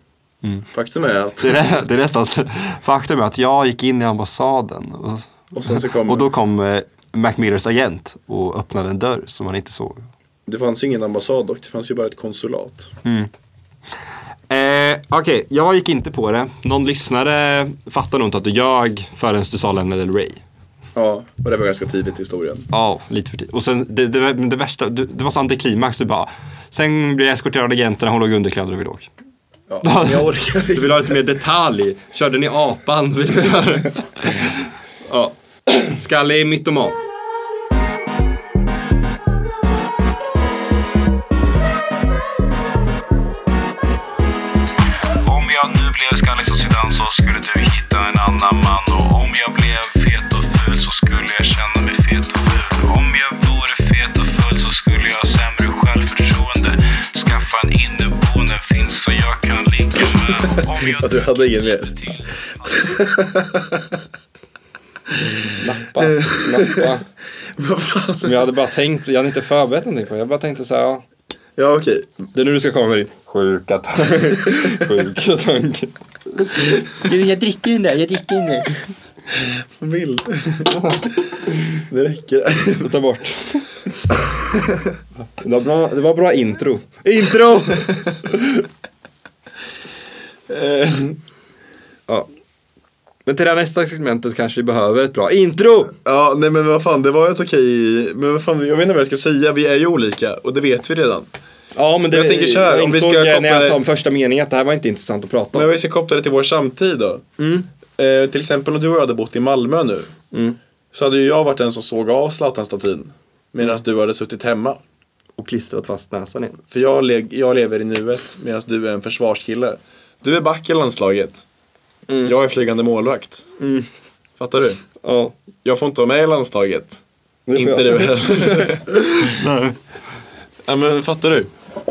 Faktum är att,
Det är, det är nästan så- faktum är att jag gick in i ambassaden och,
och sen så kom,
och då kom eh, Mac Millers agent och öppnade en dörr som man inte såg.
det fanns ju ingen ambassad dock, det fanns ju bara ett konsulat.
Eh, Okej, jag gick inte på det. Någon lyssnare fattar nog inte att du ljög förrän du sa Lana Del Rey.
Ja, och det var ganska tidigt i historien.
Ja, lite för tidigt. Och sen det, det, det värsta, det, det var så antiklimax. Du bara, sen blev jag eskorterad av agenterna, hon låg i underkläder och vi låg.
Ja, men jag orkar
Du vill
inte.
ha lite mer detalj. Körde ni apan? Vi vill höra. ja. Skalle är mytoman.
Om jag nu blev skallig som Zidane så skulle du hitta en annan man. Och om jag blev fet och ful så skulle jag känna mig fet och ful. Om jag vore fet och ful så skulle jag ha sämre självförtroende. Skaffa en inneboende finns så jag kan ligga med. Om
*laughs* Ja,
jag
du hade ingen mer. Eh.
Nappa, nappa. Men jag hade bara tänkt, jag hade inte förberett någonting på det. Jag bara tänkte så här, ja.
Ja okej.
Det är nu du ska komma med din sjuka tanke.
*laughs*
sjuka tanke.
Du, jag dricker den där, jag dricker den där.
Vill. det räcker.
*laughs* Ta bort. Det var bra, det var bra intro.
Intro!
*laughs* Ja. Men till det här nästa segmentet kanske vi behöver ett bra intro.
ja nej men vad fan det var ett okej. Men vad fan jag vet inte vad jag ska säga. Vi är ju olika och det vet vi redan.
Ja men det
Jag tänker så här,
jag
om vi
insåg
ska
när jag
koppla-
sa om första meningen att det här var inte intressant att prata om.
Men vi ska koppla det till vår samtid då.
Mm.
Eh, till exempel om du och jag hade bott i Malmö nu. Så hade ju jag varit den som såg av Zlatan-statyn. Medan du hade suttit hemma.
Och klistrat fast näsan igen.
För jag, le- jag lever i nuet medan du är en försvarskille. Du är back i landslaget.
Mm.
Jag är flygande målvakt. Fattar du?
Ja.
Jag får inte vara med i landslaget.
får
Inte
jag.
du heller.
*laughs*
Nej. Ja, men fattar du?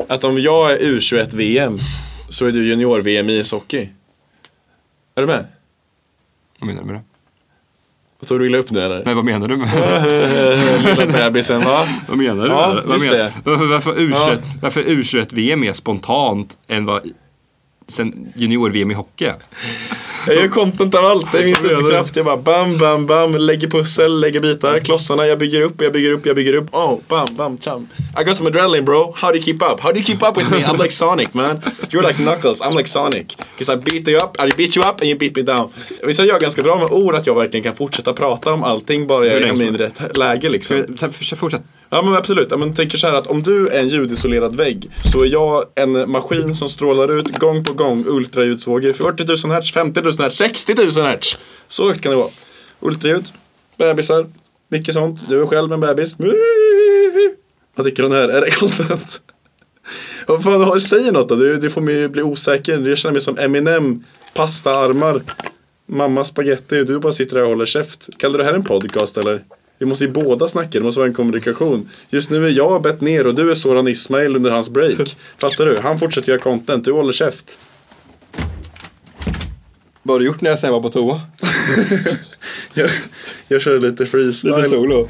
Att om jag är U21-VM så är du junior-VM i ishockey. Är du med?
Vad menar du med det?
Tog du illa upp nu eller?
Nej vad menar du med det?
Lilla bebisen *laughs* va?
Vad menar du?
Ja,
med det? vad
just
menar,
det.
Varför, varför, U21,
Ja.
varför U21-VM är E spontant än vad i- sen junior-VM i hockey är?
Jag gör content av allt. Det är min
Vad menar du?
superkraft. Jag bara bam, bam, bam. Lägger pussel, lägger bitar, klossarna. Jag bygger upp, jag bygger upp, jag bygger upp. Oh, bam, bam, cham. I got some adrenaline bro. How do you keep up? How do you keep up with me? I'm like Sonic man. You're like Knuckles, I'm like Sonic. Cause I beat you up, I beat you up and you beat me down. Visst är jag ganska bra med ord att jag verkligen kan fortsätta prata om allting bara
Hur
jag
länge
är
som-
i rätt läge liksom.
Sen för- Fortsätt.
Ja men absolut, ja, men tänker så här att om du är en ljudisolerad vägg så är jag en maskin som strålar ut gång på gång ultraljudsvågor 40 000 hertz, 50 000 hertz, 60 000 hertz. Så högt kan det vara. Ultraljud, bebisar, mycket sånt. Du är själv en bebis. Vad tycker du om det här? Är det content? Vad fan, har- säg något då. Du, du får mig ju bli osäker. Jag känner mig som Eminem, pastaarmar, mamma spaghetti. Du bara sitter där och håller käft. Kallar du det här en podcast eller? Vi måste ju båda snacka, det måste vara en kommunikation. Just nu är jag bett ner och du är Soran Ismail under
*laughs*
hans break. Fattar du? Han fortsätter göra content, du håller käft.
Vad har du gjort när jag sen var på toa?
Jag, jag kör lite freestyle.
Lite solo.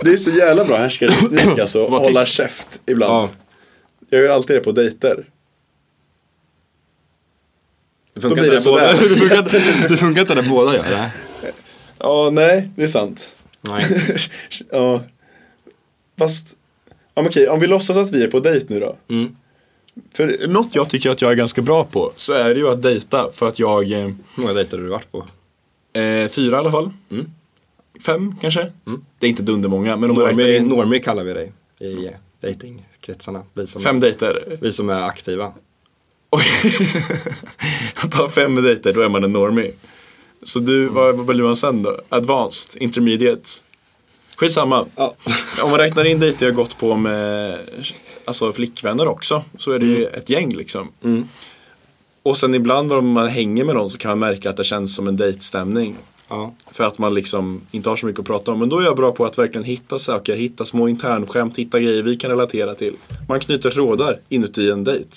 Det är så jävla bra härskarteknik
*clears throat*
alltså,
Var
hålla
tyst.
käft ibland.
Ja.
Jag gör alltid det på dejter.
Det funkar,
blir
inte
det
när båda,
sådär.
det, funkar, inte- *laughs* det funkar inte när båda gör det.
Ja, nej, det är sant.
Nej.
ja. Fast, ja, men okej, om vi låtsas att vi är på dejt nu då. För Mm. något jag tycker att jag är ganska bra på så är det ju att dejta för att jag, eh,
Hur många dejter har du varit på?
eh, fyra i alla fall. Fem kanske. Det är inte dundermånga men om man räknar
Normie,
in
normie kallar vi dig i eh, dejtingkretsarna. Vi som,
fem dejter.
vi som är aktiva.
Oj. *laughs* Att ha fem dejter, då är man en normie. Så du, vad, vad blir man sen då? Advanced, intermediate? Skitsamma.
Ja.
Om man räknar in dejter jag gått på med alltså, flickvänner också, så är det
Mm.
ju ett gäng liksom. Och sen ibland om man hänger med någon så kan man märka att det känns som en dejtstämning.
Ja.
För att man liksom inte har så mycket att prata om. Men då är jag bra på att verkligen hitta saker, hitta små internskämt, hitta grejer vi kan relatera till. Man knyter trådar inuti en dejt.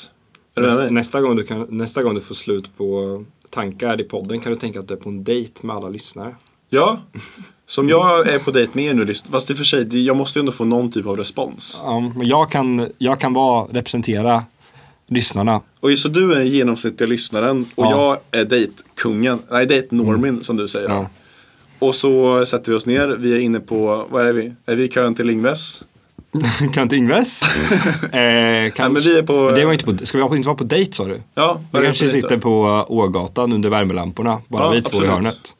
Är du med mig?
Nästa, gång du kan, nästa gång du får slut på tankar i podden kan du tänka att du är på en dejt med alla lyssnare.
Ja, som jag är på dejt med er nu, lyssn- fast i och för sig, det- jag måste ju ändå få någon typ av respons.
Ja, men jag kan, jag kan vara, representera lyssnarna.
Och just så du är den genomsnittliga lyssnaren och
Ja. Mm.
jag är dejtkungen, nej dejtnormin som du säger.
Ja.
Och så sätter vi oss ner, vi är inne på, vad är vi? Är vi i kön till Lingves?
*laughs* Kant Ingves. eh, kanske.
*laughs* Ja, Mm. men vi är på-
Det var inte på, ska vi ha- inte vara på dejt sa du?
Ja,
Vi
vad är det
kanske
för dejt
sitter
då?
på Ågatan under värmelamporna, bara
Ja,
vi två
absolut. Mm.
i hörnet.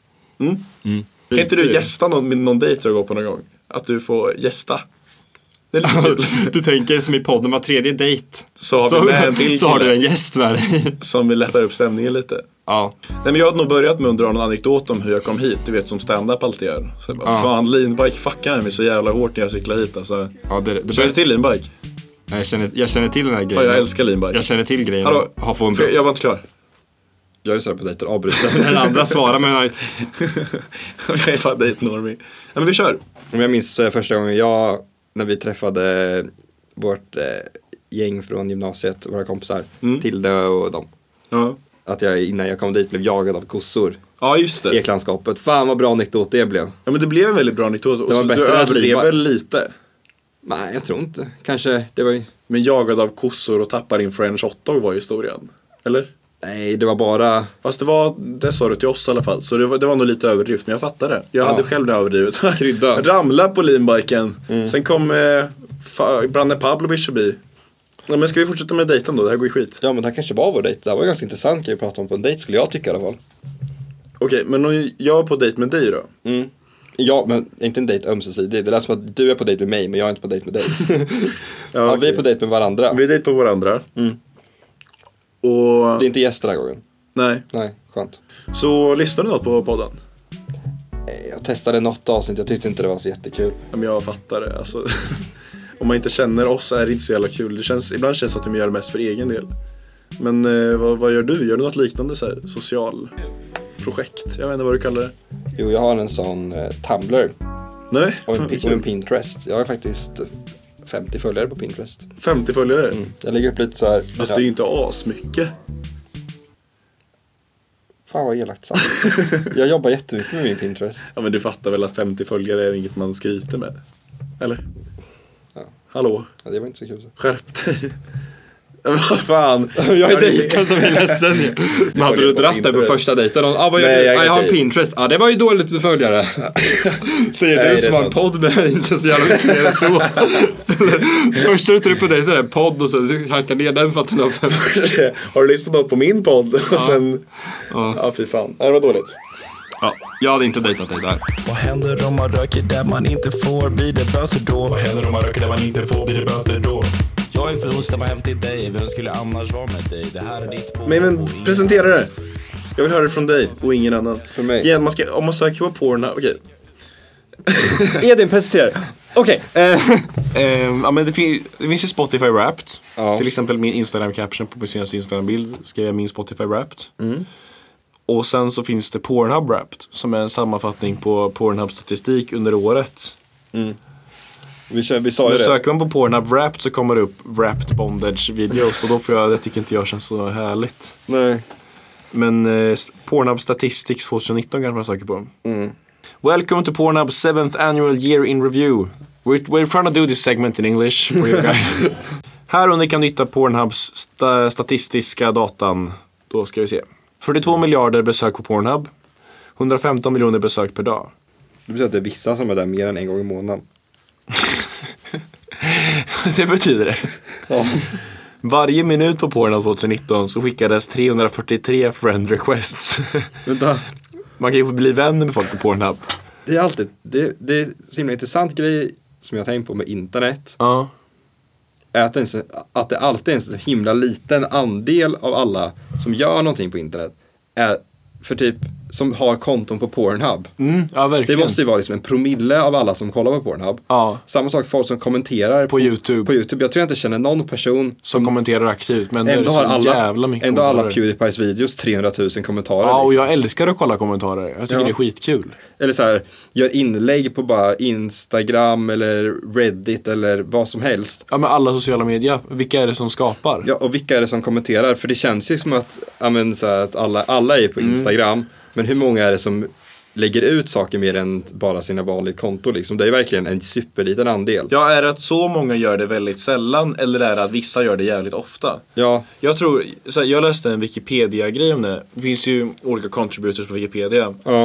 Mm.
Kan inte du gästa någon, med någon dejt jag går på någon gång? Att du får gästa. Det är lite kul.
*laughs* *laughs* du tänker som i podden, var tredje dejt
Så har vi med en till
så har du
kille
en gäst med
*laughs*
dig.
som vill lätta upp stämningen lite.
ja.
Nej men jag hade nog börjat med att dra någon anekdot om hur jag kom hit, du vet som standup alltid gör. Så jag bara, Fan leanbike fuckade mig så jävla hårt när jag cyklade hit alltså.
ja det, det,
Känner du till leanbike?
Nej, jag, känner, jag känner till den här grejen.
Fan jag älskar leanbike.
Jag känner till grejen.
Hallå,
ha, få en
för
bra...
jag var inte klar.
Gör det så här på dejter, avbryter. Den andra svarar men
*laughs* jag är fan dejt normie. Nej men vi kör.
Om jag minns eh, första gången jag, när vi träffade Mm. vårt eh, gäng från gymnasiet, våra kompisar, Tilde och dem.
Ja.
att jag innan jag kom dit blev jagad av kossor
Ja, just det.
i eklandskapet. Fan vad bra anekdot det blev.
Ja, men det blev en väldigt bra anekdot. Och
Det var
så
bättre
du
än att
överdrev
liva.
väl lite.
Nej, jag tror inte. Kanske, det var ju...
Men jagad av kossor och tappar in french hotdog var historien. Eller?
Nej, det var bara...
Fast det var, det sa du till oss i alla fall. Så det var, det var nog lite överdrift, men jag fattade. det. Jag
Ja.
hade själv det överdrivet.
*laughs* Krydda.
*laughs*
Mm.
Ramla på linbiken. Sen kom eh, fa- Branne Pavlovic förbi. Ja, men ska vi fortsätta med dejten då? Det här går ju skit.
Ja, men det här kanske var vår dejt. Det här var ganska intressant grej att prata om på en dejt skulle jag tycka i alla fall.
Okej, men om jag är på dejt med dig då?
Ja, men inte en dejt ömsesidig. Det lät som att du är på dejt med mig, men jag är inte på dejt *laughs* med dig. ja, vi
okej.
är på dejt med varandra.
Vi är dejt på varandra.
Mm.
Och...
Det är inte gäster den här gången.
Nej.
Nej, skönt.
Så lyssnar du något på podden?
Eh, Jag testade något avsnitt, jag tyckte inte det var så jättekul.
Ja, men jag fattar det. Alltså, *laughs* om man inte känner oss är det inte så jävla kul. Det känns, ibland känns det att de gör det mest för egen del. Men eh, vad, vad gör du? Gör du något liknande så här, social projekt? Jag vet inte vad du kallar det.
Jo, jag har en sån eh, Tumblr
Nej,
och en,
fan, vad
och en
kul.
Pinterest. Jag har faktiskt 50 följare på Pinterest.
*laughs* 50 följare.
Jag lägger upp lite så här.
Fast det är ju inte asmycket.
Fan vad elakt
*laughs*
sagt. jag jobbar jättemycket med min Pinterest.
Ja, men du fattar väl att 50 följare är inget man skryter med? Eller? Hallå,
Ja, det var inte så kul. Så.
skärp dig. *laughs* vad fan.
Jag är
Hörni,
dejten som är ledsen ju. Men hade du dratt det på första dejten? och, Ah, vad gör
Nej,
du?
jag är
"Ah, jag har en
gay."
Pinterest. Ja, ah, det var ju dåligt med följare. *laughs* Säger
Nej, det
du som
är
har en
sant.
podd med *laughs* inte så jävla mycket mer än så. *laughs* Första du tar upp på dejten är en podd och sen hackar ner den för att den har fem.
*laughs* Har du lyssnat något på min podd? Och sen...
Ja.
Ja. fy fan. Nej, Det var dåligt.
Ja, jag hade inte dejtat dig där.
Vad händer om man röker där man inte får? Blir det böter då? Vad händer om man röker där man inte får? Blir det böter då? Jag är förhostad hem till dig. Vem skulle annars vara med dig? Det här är ditt på.
Men, men presentera det. Jag vill höra det från dig och ingen annan. För
mig?
Igen, man ska, om man söker på Pornhub,
*laughs*
okej.
Edvin presenterar. Okej.
eh,
*laughs* Ehm, ja, men det, fin- det finns ju Spotify Wrapped.
Ja.
Till exempel min Instagram caption på min senaste Instagram-bild skrev jag min Spotify Wrapped.
Mm.
Och sen så finns det Pornhub Wrapped som är en sammanfattning på Pornhub statistik under året.
Vi, kör, vi sa ju
Men
det.
söker man på Pornhub Wrapped så kommer det upp Wrapped Bondage videos och då får jag, det tycker inte jag känns så härligt.
Nej.
Men eh, s- Pornhub Statistics 2019 kanske man söker på. Welcome to Pornhub 7th annual year in review. We're, we're trying to do this segment in English for you *laughs* guys. Här under kan du hitta Pornhubs sta- statistiska datan. Då ska vi se. 42 miljarder besök på Pornhub. 115 miljoner besök per dag.
Det betyder att det är vissa som är där mer än en gång i månaden.
*laughs* det betyder det. Varje minut på Pornhub 2019 så skickades 343 friend requests. *laughs*
Vänta.
Man kan ju bli vän med folk på Pornhub.
Det är alltid, det, det är en så himla intressant grej som jag har tänkt på med internet.
Ja.
är att det, är en så, att det alltid är en så himla liten andel av alla som gör någonting på internet. Är, för typ, som har konton på Pornhub.
Mm, ja,
Det
verkligen.
måste ju vara liksom en promille av alla som kollar på Pornhub.
Ja.
Samma sak folk som kommenterar
På YouTube.
på YouTube. Jag tror jag inte känner någon person
som kommenterar aktivt. Men
Mm. Ändå har,
det är så jävla
alla,
mycket
ändå har alla
kommentarer.
Pewdiepies videos 300 000 kommentarer.
Ja, och
liksom.
jag älskar att kolla kommentarer. Jag tycker
Ja.
det är skitkul.
Eller så här, gör inlägg på bara Instagram eller Reddit eller vad som helst.
Ja, men alla sociala medier. Vilka är det som skapar?
Ja, och vilka är det som kommenterar? För det känns ju som att, ja, men, så här, att alla, alla är på Instagram, men hur många är det som lägger ut saker mer än bara sina vanliga konton? Liksom? Det är ju verkligen en superliten andel.
Ja, är det att så många gör det väldigt sällan eller är det att vissa gör det jävligt ofta?
Ja,
Jag tror, så här, jag läste en Wikipedia-grej om det. Det finns ju olika contributors på Wikipedia.
ja,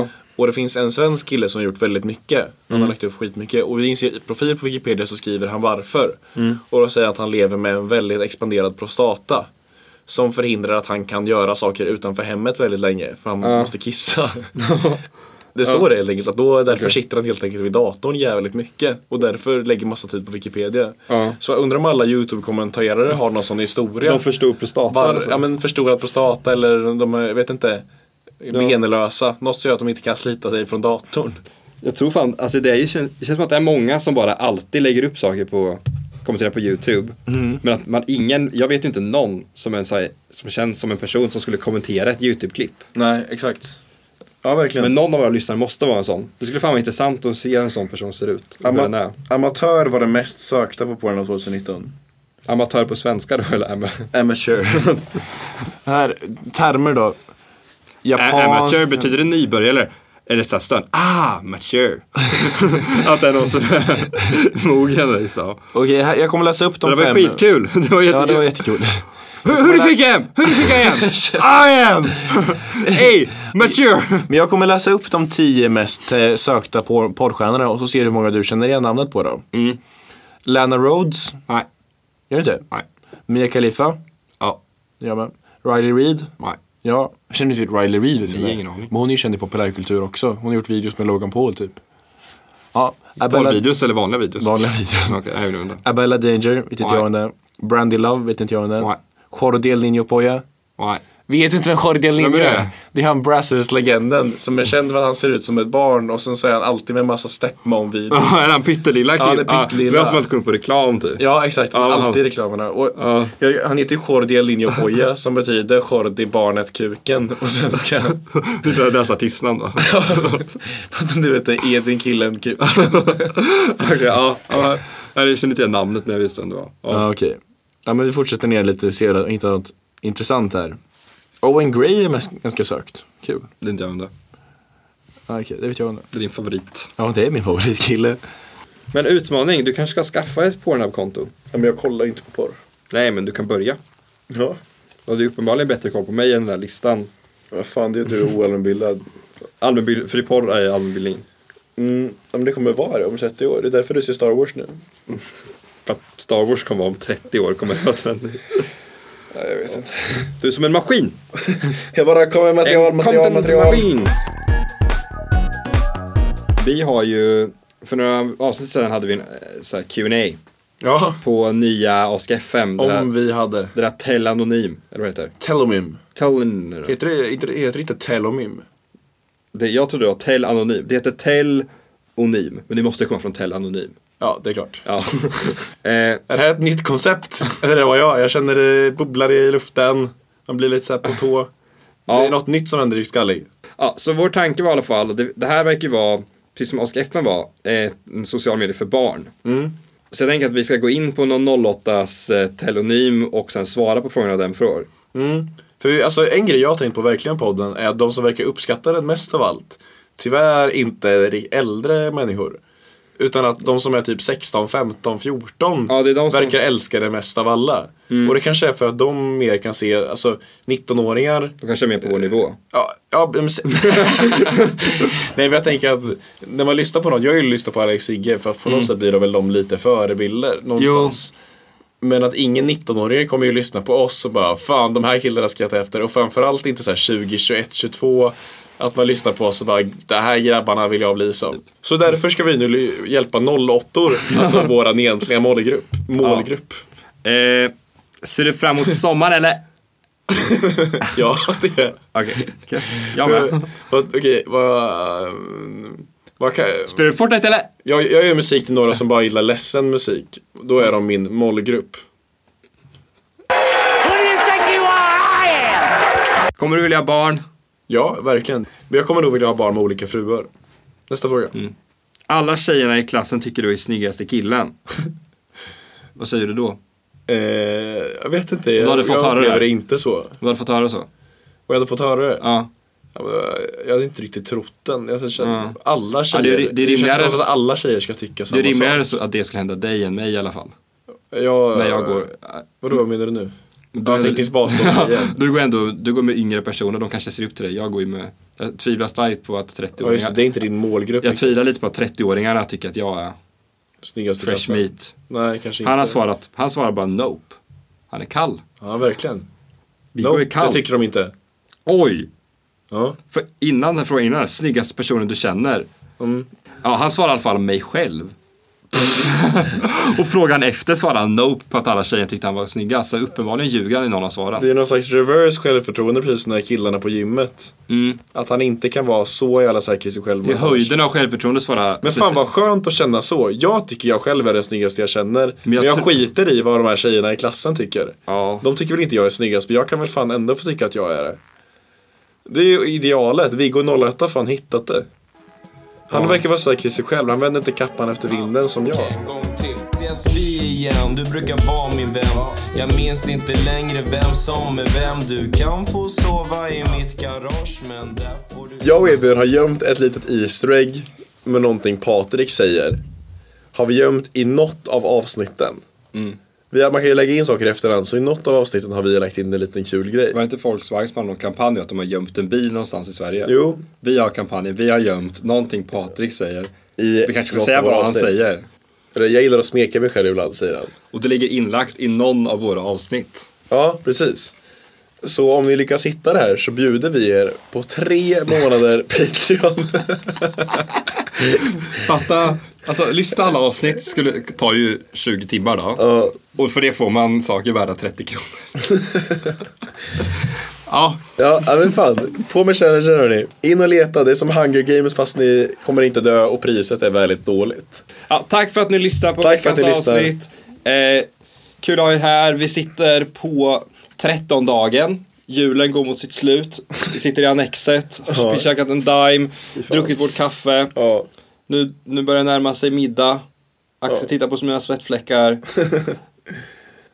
Och
Mm.
det finns en svensk kille som har gjort väldigt mycket. Han har lagt upp skitmycket. Och det finns ju i profil på Wikipedia så skriver han varför.
Mm.
Och då säger han att han lever med en väldigt expanderad prostata. Som förhindrar att han kan göra saker utanför hemmet väldigt länge. För han måste kissa.
*laughs*
Det står det helt enkelt att då därför sitter han helt enkelt vid datorn jävligt mycket och därför lägger massa tid på Wikipedia.
Ja.
Så jag undrar om alla YouTube-kommenterare har någon sån historia.
de förstod prostata.
Var,
alltså.
ja, men förstorad prostata eller de är, jag vet inte, benlösa. Något som gör att de inte kan slita sig från datorn.
Jag tror fan, alltså det, är ju, känns, det känns som att det är många som bara alltid lägger upp saker på kommenterar på YouTube. Men att man ingen, jag vet ju inte någon som, är en, så här, som känns som en person som skulle kommentera ett YouTube-klipp.
Nej, exakt.
Ja, verkligen.
Men någon av våra lyssnare måste vara en sån. Det skulle fan vara intressant att se hur en sån person ser ut. och hur den är.
Amatör var det mest sökta på Pornhub 2019.
Amatör på svenska då eller? Am-
Amateur. *laughs* här, termer då. Japanskt.
Amateur, betyder det nybörjare eller? Eller såhär stön, ah,
*laughs*
mature. att det är någon som är mogen liksom.
Okej, här, jag kommer läsa upp de
Det
fem.
var skitkul. Det var jättekul.
Ja, det
*laughs*
var jättekul.
Hur, hur du fick jag hem? Hur du fick jag
*laughs*
hem? I am! Hey,
*laughs*
mature!
Men jag kommer läsa upp de tio mest eh, sökta por- porrstjärnorna och så ser du hur många du känner igen namnet på då.
Mm.
Lana Rhodes,
Nej,
gör du inte?
nej,
Mia Khalifa,
ja,
jag med. Riley Reid,
nej.
ja. Känner du till Riley Reid? vet du
Nej,
det?
ingen aning.
Men hon är ju känd i populärkultur också. Hon har gjort videos med Logan Paul typ. Ja, Abella,
Porrvideos eller vanliga videos?
Vanliga videos.
*laughs* Okej, jag undrar.
Abella Danger, vet inte
Nej.
jag vem det är. Brandy Love, vet inte jag vem det är.
Nej.
Jordel Niño Poya.
Nej. *laughs*
Vet inte vem Jordan
Vem är
Lindgren
det?
är? Det är han Brassers-legenden som är känd för att han ser ut som ett barn och sen så är han alltid med en massa stepmom-videos.
Ja, är han pyttelilla
Ja, han är
killen? Ja, det
pyttelilla.
var som att kunde på reklam typ.
Ja exakt,
Ja, han-
alltid i reklamerna. Och jag, han heter ju Jordi Linjopoja som betyder Jordi barnet kuken och sen
*laughs*
ska
*laughs* Det är deras artistnamn
*laughs*
då.
Fast du vet det är Edvin killen typ. kuk.
Okej, ja. ja. Jag kände inte igen namnet men jag visste vem det var. Ja.
*laughs* Ja okej. Ja men vi fortsätter ner lite och ser om vi hittar något intressant här. Owen Gray är mest, ganska sökt. Kul.
Det är inte jag undrar.
Ja, okej, det vet jag inte.
Det är din favorit.
Ja det är min favoritkille.
Men utmaning, du kanske ska skaffa ett Pornhub-konto?
Men jag kollar inte på porr.
Nej, men du kan börja.
Ja.
Och du har uppenbarligen bättre koll på mig än den där listan.
Vad fan, det är att du är oallmänbildad.
Allmänbild- fri porr är allmänbildning.
Mm, ja, men det kommer vara det om 30 år. Det är därför du ser Star Wars nu.
För att Star Wars kommer vara om 30 år, kommer det vara trendigt.
Nej, jag vet inte.
Du är som en maskin!
Jag bara kommer med material,
En
material, material.
content-maskin! Vi har ju, för några avsnitt sedan hade vi en eh, så här Q&A
Ja.
på nya Ask FM. Det
Om
där,
vi hade
det där Telanonym, eller vad heter det?
Telomym.
Tel,
Heter det, heter det, heter det inte Telomym?
det? Jag trodde det var Tel Anonym. Det heter Telonym, men det måste komma från Tel Anonym.
Ja det är klart.
Ja. *laughs* eh,
Är det här ett nytt koncept? Eller det var jag. Jag känner det bubblar i luften. Man blir lite så här på tå. Det
Ja.
är något nytt som händer i skallig.
Ja, så vår tanke var i alla fall, det, det här verkar ju vara, precis som Ask FN var, eh, en social medie för barn. Så jag tänker att vi ska gå in på någon 08s eh, telonym och sen svara på frågorna den frågar.
För vi- alltså, en grej jag har tänkt på verkligen i podden är att de som verkar uppskatta den mest av allt tyvärr inte är ri- äldre människor. Utan att de som är typ 16, 15, 14
Ja, det är de som- Mm.
verkar älska det mest av alla. Och det kanske är för att de mer kan se, alltså 19-åringar
De kanske är med på vår nivå.
Ja, ja men... se- *laughs* Nej men jag tänker att när man lyssnar på någon, jag har ju lyssnat på Alex och Sigge för att på något sätt blir de väl de lite förebilder någonstans. Men att ingen 19-åring kommer ju lyssna på oss och bara fan de här killarna ska jag ta efter och framförallt inte så här 20, 21, 22. Att man lyssnar på oss och bara det här grabbarna vill jag bli som. Så därför ska vi nu ly- hjälpa 08or, alltså våran egentliga målgrupp. Målgrupp.
Eh, ser du fram emot sommar eller?
Ja, det är...
*laughs* Okej, okay. jag med.
Vad- Okej, vad... Vad kan...
Spelar du Fortnite eller?
Jag, jag gör musik till några som bara gillar ledsen musik. Då är de min målgrupp.
Who do you think you are? I am.
Kommer du vilja ha barn?
Ja, verkligen. Men jag kommer nog vilja ha barn med olika fruar. Nästa fråga.
Mm. Alla tjejerna i klassen tycker du är snyggaste killen. *laughs* Vad säger du då?
Eh, jag vet inte. Jag,
Då har du fått
jag
höra det
upplever
här.
det inte så. Och
Du hade fått höra så?
jag hade fått höra det.
Ja.
Ja, men jag- Jag hade inte riktigt trott den. Jag känner,
Ja.
Alla
Ja,
tjejer.
det är- det är
känns
rimligare-
konstigt att alla tjejer ska tycka
Det
samma
är rimligare
sak.
så att det skulle hända dig än mig i alla fall.
Jag,
När jag går
Vadå, vad menar du nu?
Du,
Ja,
*laughs*
teknisk basår igen.
du går ändå du går med yngre personer, de kanske ser upp till dig. Jag går ju med, jag tvivlar starkt på att
Ja, just det, det
30-åringar,
är inte din målgrupp.
jag
riktigt.
tvivlar lite på att 30-åringarna tycker att jag är
Snyggaste
fresh
klassen.
meat.
Nej, kanske inte.
Han har svarat, han svarar bara nope. Han är kall.
Ja, verkligen.
Viggo
Nope,
är kall.
det tycker de inte.
Oj!
Ja.
För innan den frågan innan, snyggaste personen du känner.
Mm.
Ja, han svarar i alla fall mig själv. *laughs* och frågan efter svarar han nope på att alla tjejer tyckte han var snyggast. Så uppenbarligen ljuger han i någon av svaren.
Det är någon slags reverse självförtroende precis när killarna på gymmet.
Mm.
Att han inte kan vara så jävla säker i sig själv.
Det är höjden av självförtroende svarar
Men fan vad skönt att känna så. Jag tycker jag själv är den snyggaste jag känner. Men jag,
jag tror-
skiter i vad de här tjejerna i klassen tycker.
Ja.
De tycker väl inte jag är snyggast men jag kan väl fan ändå få tycka att jag är det. Det är ju idealet. Viggo 01 har fan hittat det. Han verkar vara säker i sig själv. Han vänder inte kappan efter vinden som jag.
En gång till. Se
ens vi igen? Du brukar vara min vän. Jag minns inte längre vem som är vem. Du kan få sova i mitt garage, men där får du...
Jag och Edvin har gömt ett litet Easter egg med någonting Patrik säger. Har vi gömt i något av avsnitten. Vi har, man kan ju lägga in saker i efterhand, så i något av avsnitten har vi lagt in en liten kul grej.
Var inte Volkswagen som hade någon kampanj att de har gömt en bil någonstans i Sverige?
Jo,
Vi har kampanjen, vi har gömt någonting Patrik säger.
i
Vi kanske ska
något
säga
av våra
vad han
avsnitt.
säger.
Eller, Jag gillar att smeka mig själv ibland, säger han.
Och det ligger inlagt i någon av våra avsnitt.
Ja, precis. Så om ni lyckas hitta det här så bjuder vi er på tre månader Patreon. *laughs*
Fatta, alltså lyssna alla avsnitt skulle ta ju 20 timmar då.
Ja.
Och för det får man saker värda 30 kronor. ja,
Ja, ja, men fan. På med challengen hörni. In och leta, det är som Hunger Games fast ni kommer inte dö och priset är väldigt dåligt.
Ja, tack för att ni lyssnar på
Tack för att
veckans
ni
avsnitt. Eh, kul att ha er här. Vi sitter på 13 dagen. Julen går mot sitt slut. Vi sitter i
*laughs*
Annexet, har käkat en Daim, druckit vårt kaffe.
Ja,
Nu, nu börjar det närma sig middag. Axel
Ja.
tittar på sina svettfläckar.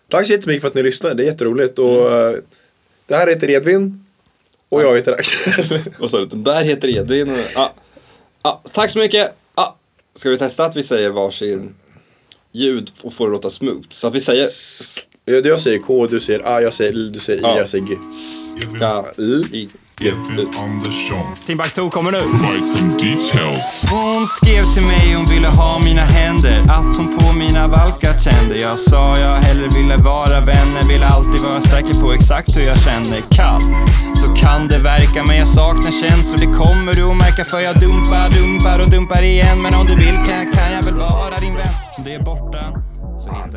Tack så jättemycket för att ni lyssnar, det är jätteroligt. Och,
Mm.
eh, det här heter Edvin och jag heter
*laughs*
Axel.
Vad sa du? Den där heter E. Edvin. och- Ja. Ja, Ah. tack så mycket. Ja. Ska vi testa att vi säger varsin ljud och får det låta smooth? Så att vi säger
Jag jag säger K, du säger A, jag säger L, du säger I,
Ja.
jag säger G.
ska
L.
i
Edvin Andersson.
Timbuk 2 kommer nu.
Price and details.
Hon skrev till mig hon ville ha mina händer Att hon på mina valkar kände Jag sa jag hellre ville vara vänner Ville alltid vara säker på exakt hur jag känner Kall, så kan det verka Men jag saknar känslor, det kommer du att märka För jag dumpar, dumpar och dumpar igen Men om du vill kan, kan jag väl vara din vän Om du är borta så hittar jag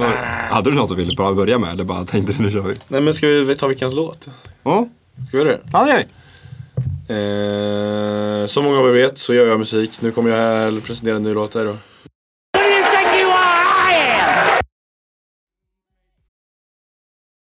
dig.
Hade du något du ville bara börja med eller bara tänkte du nu kör vi?
Nej men ska vi ta veckans låt?
Ja,
Ska vi göra det?
ja det gör vi.
Eh, som många av er vet så gör jag musik. Nu kommer jag här presentera en ny låt här då.